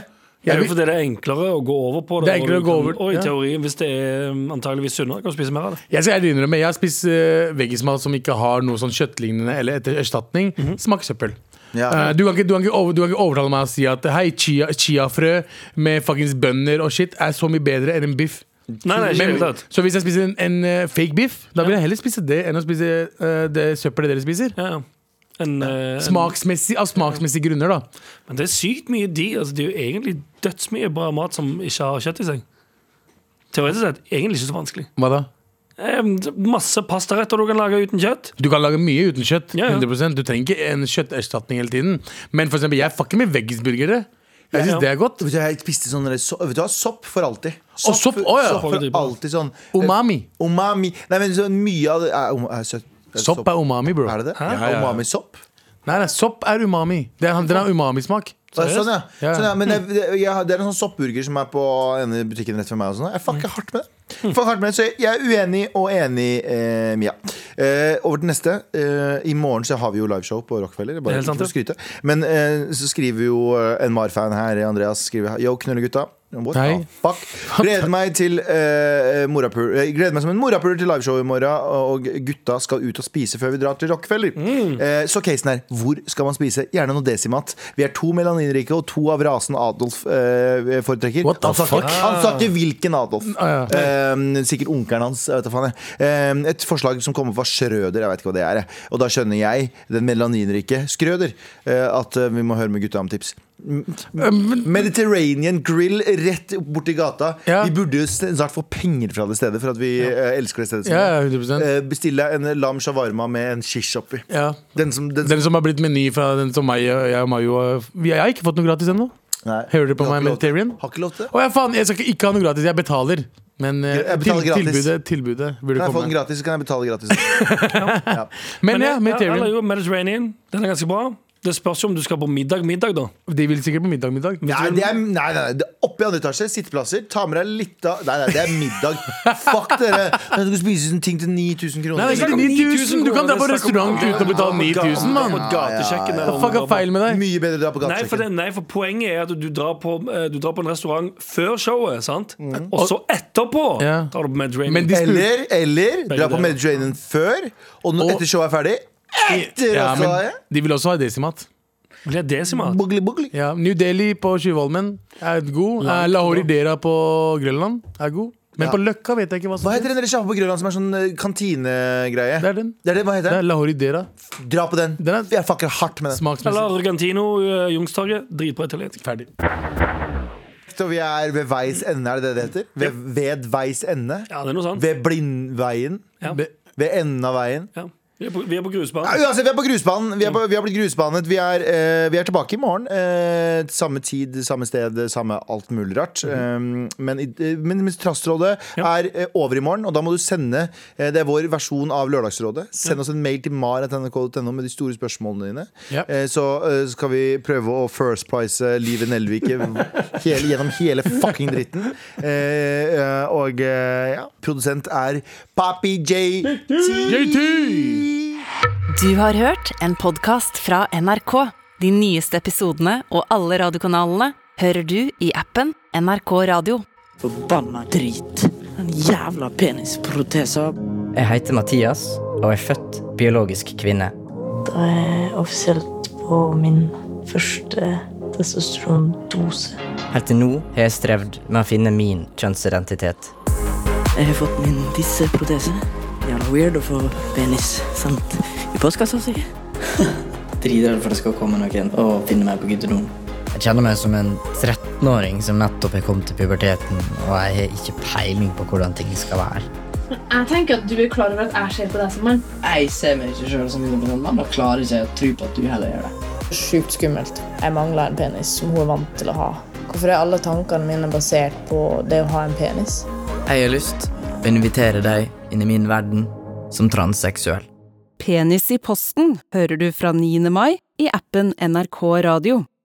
Speaker 3: Det er
Speaker 4: Jeg
Speaker 3: jo fordi det er enklere å gå over på det.
Speaker 4: Det er enklere
Speaker 3: og du
Speaker 4: å gå
Speaker 3: kan-
Speaker 4: over,
Speaker 3: Og i
Speaker 4: ja.
Speaker 3: teorien, hvis det er um, antageligvis sunnere, kan du spise mer av det.
Speaker 4: Jeg skal ærlig innrømme, jeg har spist uh, veggismat som ikke har noe sånn kjøttlignende eller etter erstatning.
Speaker 3: Mhm.
Speaker 4: Smaker søppel.
Speaker 2: Ja.
Speaker 4: Eh, du, kan ikke, du, kan ikke over, du kan ikke overtale meg å si at hei, chia, chiafrø med fuckings bønner og shit er så mye bedre enn en biff.
Speaker 3: Nei, nei, ikke i det hele
Speaker 4: Men,
Speaker 3: tatt.
Speaker 4: så hvis jeg spiser en, en eh, fake biff, da vil jeg heller spise det enn å spise eh, det søppelet dere spiser.
Speaker 3: Ja, ja. En, eh,
Speaker 4: Smaksmessig, av smaksmessige grunner, da.
Speaker 3: en, men det er sykt mye de altså, Det er jo egentlig dødsmye bra mat som ikke har kjøtt i seg. Teoretisk sett egentlig ikke så vanskelig.
Speaker 4: Hva da?
Speaker 3: Eh, Masse pastaretter du kan lage uten kjøtt.
Speaker 4: Du kan lage mye uten kjøtt.
Speaker 3: Ja, ja.
Speaker 4: 100% Du trenger ikke en kjøtterstatning hele tiden. Men for eksempel, jeg fucker med veggisburgere. Jeg syns
Speaker 3: Ja, ja.
Speaker 4: det er godt.
Speaker 2: Vet du, jeg spiste sånn der so- Vet du hva, sopp for alltid.
Speaker 4: Å, sopp, å, ja.
Speaker 2: sopp for alltid sånn
Speaker 4: Umami.
Speaker 2: Umami. Nei, men så mye av det er, er, søtt. eh,
Speaker 4: Sopp er umami, bro.
Speaker 2: Er det det?
Speaker 4: Hæ? Ja,
Speaker 2: Ja,
Speaker 4: ja, ja.
Speaker 2: Umami-sopp?
Speaker 4: Nei, nei, sopp er umami. Det er, den har umamismak.
Speaker 2: Ja, Sånn, ja.
Speaker 4: Ja.
Speaker 2: Sånn, ja. Men det, det, ja, det er en sånn soppburger som er på denne butikken rett for meg. Og sånn. jeg fucker hardt med det. Fucker hardt med det. Så jeg, jeg er uenig og enig, eh, Mia. Eh, over til neste. Eh, I morgen så har vi jo liveshow på Rockefeller. Bare
Speaker 3: Det er helt
Speaker 2: ikke for å skryte. Men eh, så skriver jo eh, en Mar-fan her, Andreas, skriver Yo, knullegutta. What the
Speaker 4: Hei.
Speaker 2: Fuck. Gleder meg til eh, morapuler. Jeg gleder meg som en morapuler til liveshow i morgen. Og gutta skal ut og spise før vi drar til Rockefeller. Eh, så casen her. Hvor skal man spise? Gjerne noe desimat. Vi er to melaninrike, og to av rasen Adolf eh, foretrekker.
Speaker 4: What the
Speaker 2: han, sa
Speaker 4: fuck?
Speaker 2: Ikke, han sa ikke hvilken Adolf.
Speaker 4: Ah, ja.
Speaker 2: Eh, sikkert onkelen hans. Jeg vet da faen jeg. Eh, et forslag som kommer fra Schrøder. Jeg vet ikke hva det er. jeg. Og da skjønner jeg, den melaninrike Skrøder, eh, at eh, vi må høre med gutta om tips.
Speaker 4: Eh,
Speaker 2: Mediterranean grill rett borti gata.
Speaker 4: Ja.
Speaker 2: Vi burde jo snart få penger fra det stedet, for at vi eh, elsker det stedet. så
Speaker 4: Ja,
Speaker 2: mye.
Speaker 4: ja, 100
Speaker 2: Eh, Bestille en lam shawarma med en shish oppi.
Speaker 4: ja.
Speaker 2: Den som, den som
Speaker 4: Den som har blitt meny fra den som meg, og- jeg og Mayo eh, vi- Jeg har ikke fått noe gratis ennå.
Speaker 2: Nei,
Speaker 4: Hører du på
Speaker 2: har
Speaker 4: meg,
Speaker 2: ikke lov-
Speaker 4: Mediterranean?
Speaker 2: Har ikke lov til det.
Speaker 4: Å ja, faen! Jeg skal ikke, ikke ha noe gratis. Jeg betaler. Men eh,
Speaker 2: Jeg betaler
Speaker 4: til,
Speaker 2: gratis.
Speaker 4: tilbudet, tilbudet
Speaker 2: Kan jeg
Speaker 4: burde
Speaker 2: få den
Speaker 4: komme.
Speaker 2: gratis, så kan jeg betale gratis.
Speaker 4: Men ja,
Speaker 3: eller
Speaker 4: Mediterranean.
Speaker 3: jo, Mediterranean. Den er ganske bra. Det spørs jo om du skal på middag middag, da.
Speaker 4: De vil sikkert på middag middag.
Speaker 2: Nei, det er, nei, nei, nei. Det er oppe i andre etasje, sitteplasser. Ta med deg litt av Nei, nei, det er middag. Fuck dere. Du skal spise sånn ting til 9000 kroner.
Speaker 4: Nei, det er ikke
Speaker 3: Snakk om
Speaker 4: 9000! Du kan dra
Speaker 3: kroner,
Speaker 4: på
Speaker 3: snakk om-
Speaker 4: restaurant uten å betale
Speaker 3: Dra
Speaker 4: 9000, mann!
Speaker 3: På et gatekjøkken eller
Speaker 4: Fuck er feil med deg?
Speaker 2: Mye bedre å dra på
Speaker 3: Nei for, det,
Speaker 2: gatekjøkken.
Speaker 3: nei, for poenget er at du drar på, eh, du drar på en restaurant før showet, sant? Og så etterpå
Speaker 4: Mm. Ja.
Speaker 3: tar du på Mediterranean.
Speaker 4: Men de spurte
Speaker 2: Eller, eller dra på
Speaker 3: deler.
Speaker 2: Mediterranean før, og når,
Speaker 4: Og-
Speaker 2: etter showet er ferdig. Etter
Speaker 4: ja,
Speaker 2: også,
Speaker 4: men De vil også ha desimat.
Speaker 3: Blir det desimat?
Speaker 2: Bugli, bugli.
Speaker 4: Ja, New Delhi på Tjuvholmen er god. Eh, Lahori Dera på Grønland er god. Men
Speaker 2: Ja.
Speaker 4: på Løkka vet jeg ikke hva som
Speaker 2: Hva heter
Speaker 4: heter.
Speaker 2: den der sjappa på Grønland som er sånn eh, kantinegreie?
Speaker 4: Det er den.
Speaker 2: Det er det, hva
Speaker 4: Det
Speaker 2: heter
Speaker 4: er
Speaker 2: den?
Speaker 4: Lahori Dera.
Speaker 2: Dra på den.
Speaker 4: Den er-
Speaker 2: Jeg fucker hardt med den.
Speaker 4: Smaksmessig.
Speaker 3: Eller Argantino, eh, Youngstorget. Dritbra italiensk.
Speaker 4: Ferdig.
Speaker 2: Og vi er ved veis ende, er det det det heter? Ved, ved veis ende?
Speaker 3: Ja, det er noe sånt.
Speaker 2: Ved blindveien?
Speaker 3: Ja.
Speaker 4: Be-
Speaker 2: Ved enden av veien?
Speaker 3: Ja. Vi er på, vi er på grusbanen.
Speaker 2: Ja, Uansett, vi er på grusbanen. Vi, er på, vi har blitt grusbanet. Vi er, eh, vi er tilbake i morgen. eh, samme tid, samme sted, samme alt mulig rart. Eh, men i- eh, men, men Trassrådet er eh, over i morgen, og da må du sende eh, Det er vår versjon av Lørdagsrådet. Send oss en mail til mar.nrk.no med de store spørsmålene dine.
Speaker 4: Ja.
Speaker 2: Eh, så eh, skal vi prøve å first price eh, livet Nelvike [LAUGHS] hele, gjennom hele fucking dritten. Eh, eh, og eh, ja, produsent er Papi J.
Speaker 4: JT!
Speaker 1: Du har hørt en podkast fra NRK. De nyeste episodene og alle radiokanalene hører du i appen NRK Radio.
Speaker 6: Forbanna drit. Den jævla penisproteser.
Speaker 7: Jeg heter Mathias, og er født biologisk kvinne.
Speaker 8: Da er jeg offisielt på min første testosterondose.
Speaker 7: Helt til nå har jeg strevd med å finne min kjønnsidentitet.
Speaker 6: Jeg har fått min tisseprotese. Jævla weird å få penis sendt i postkassa, sikkert.
Speaker 7: Driter for det skal komme noen og finne meg på guttedoen. Jeg kjenner meg som en 13-åring som nettopp er kommet til puberteten, og jeg har ikke peiling på hvordan ting skal være.
Speaker 9: Jeg tenker at du er klar over at jeg ser på deg som mann.
Speaker 7: Jeg ser meg ikke sjøl som en mann, og klarer ikke å tro på at du heller gjør det.
Speaker 9: Sjukt skummelt. Jeg mangler en penis som hun er vant til å ha. Hvorfor er alle tankene mine basert på det å ha en penis?
Speaker 7: Jeg har lyst å invitere deg inn i min verden som transseksuell.
Speaker 10: Penis i posten hører du fra 9. mai i appen NRK Radio.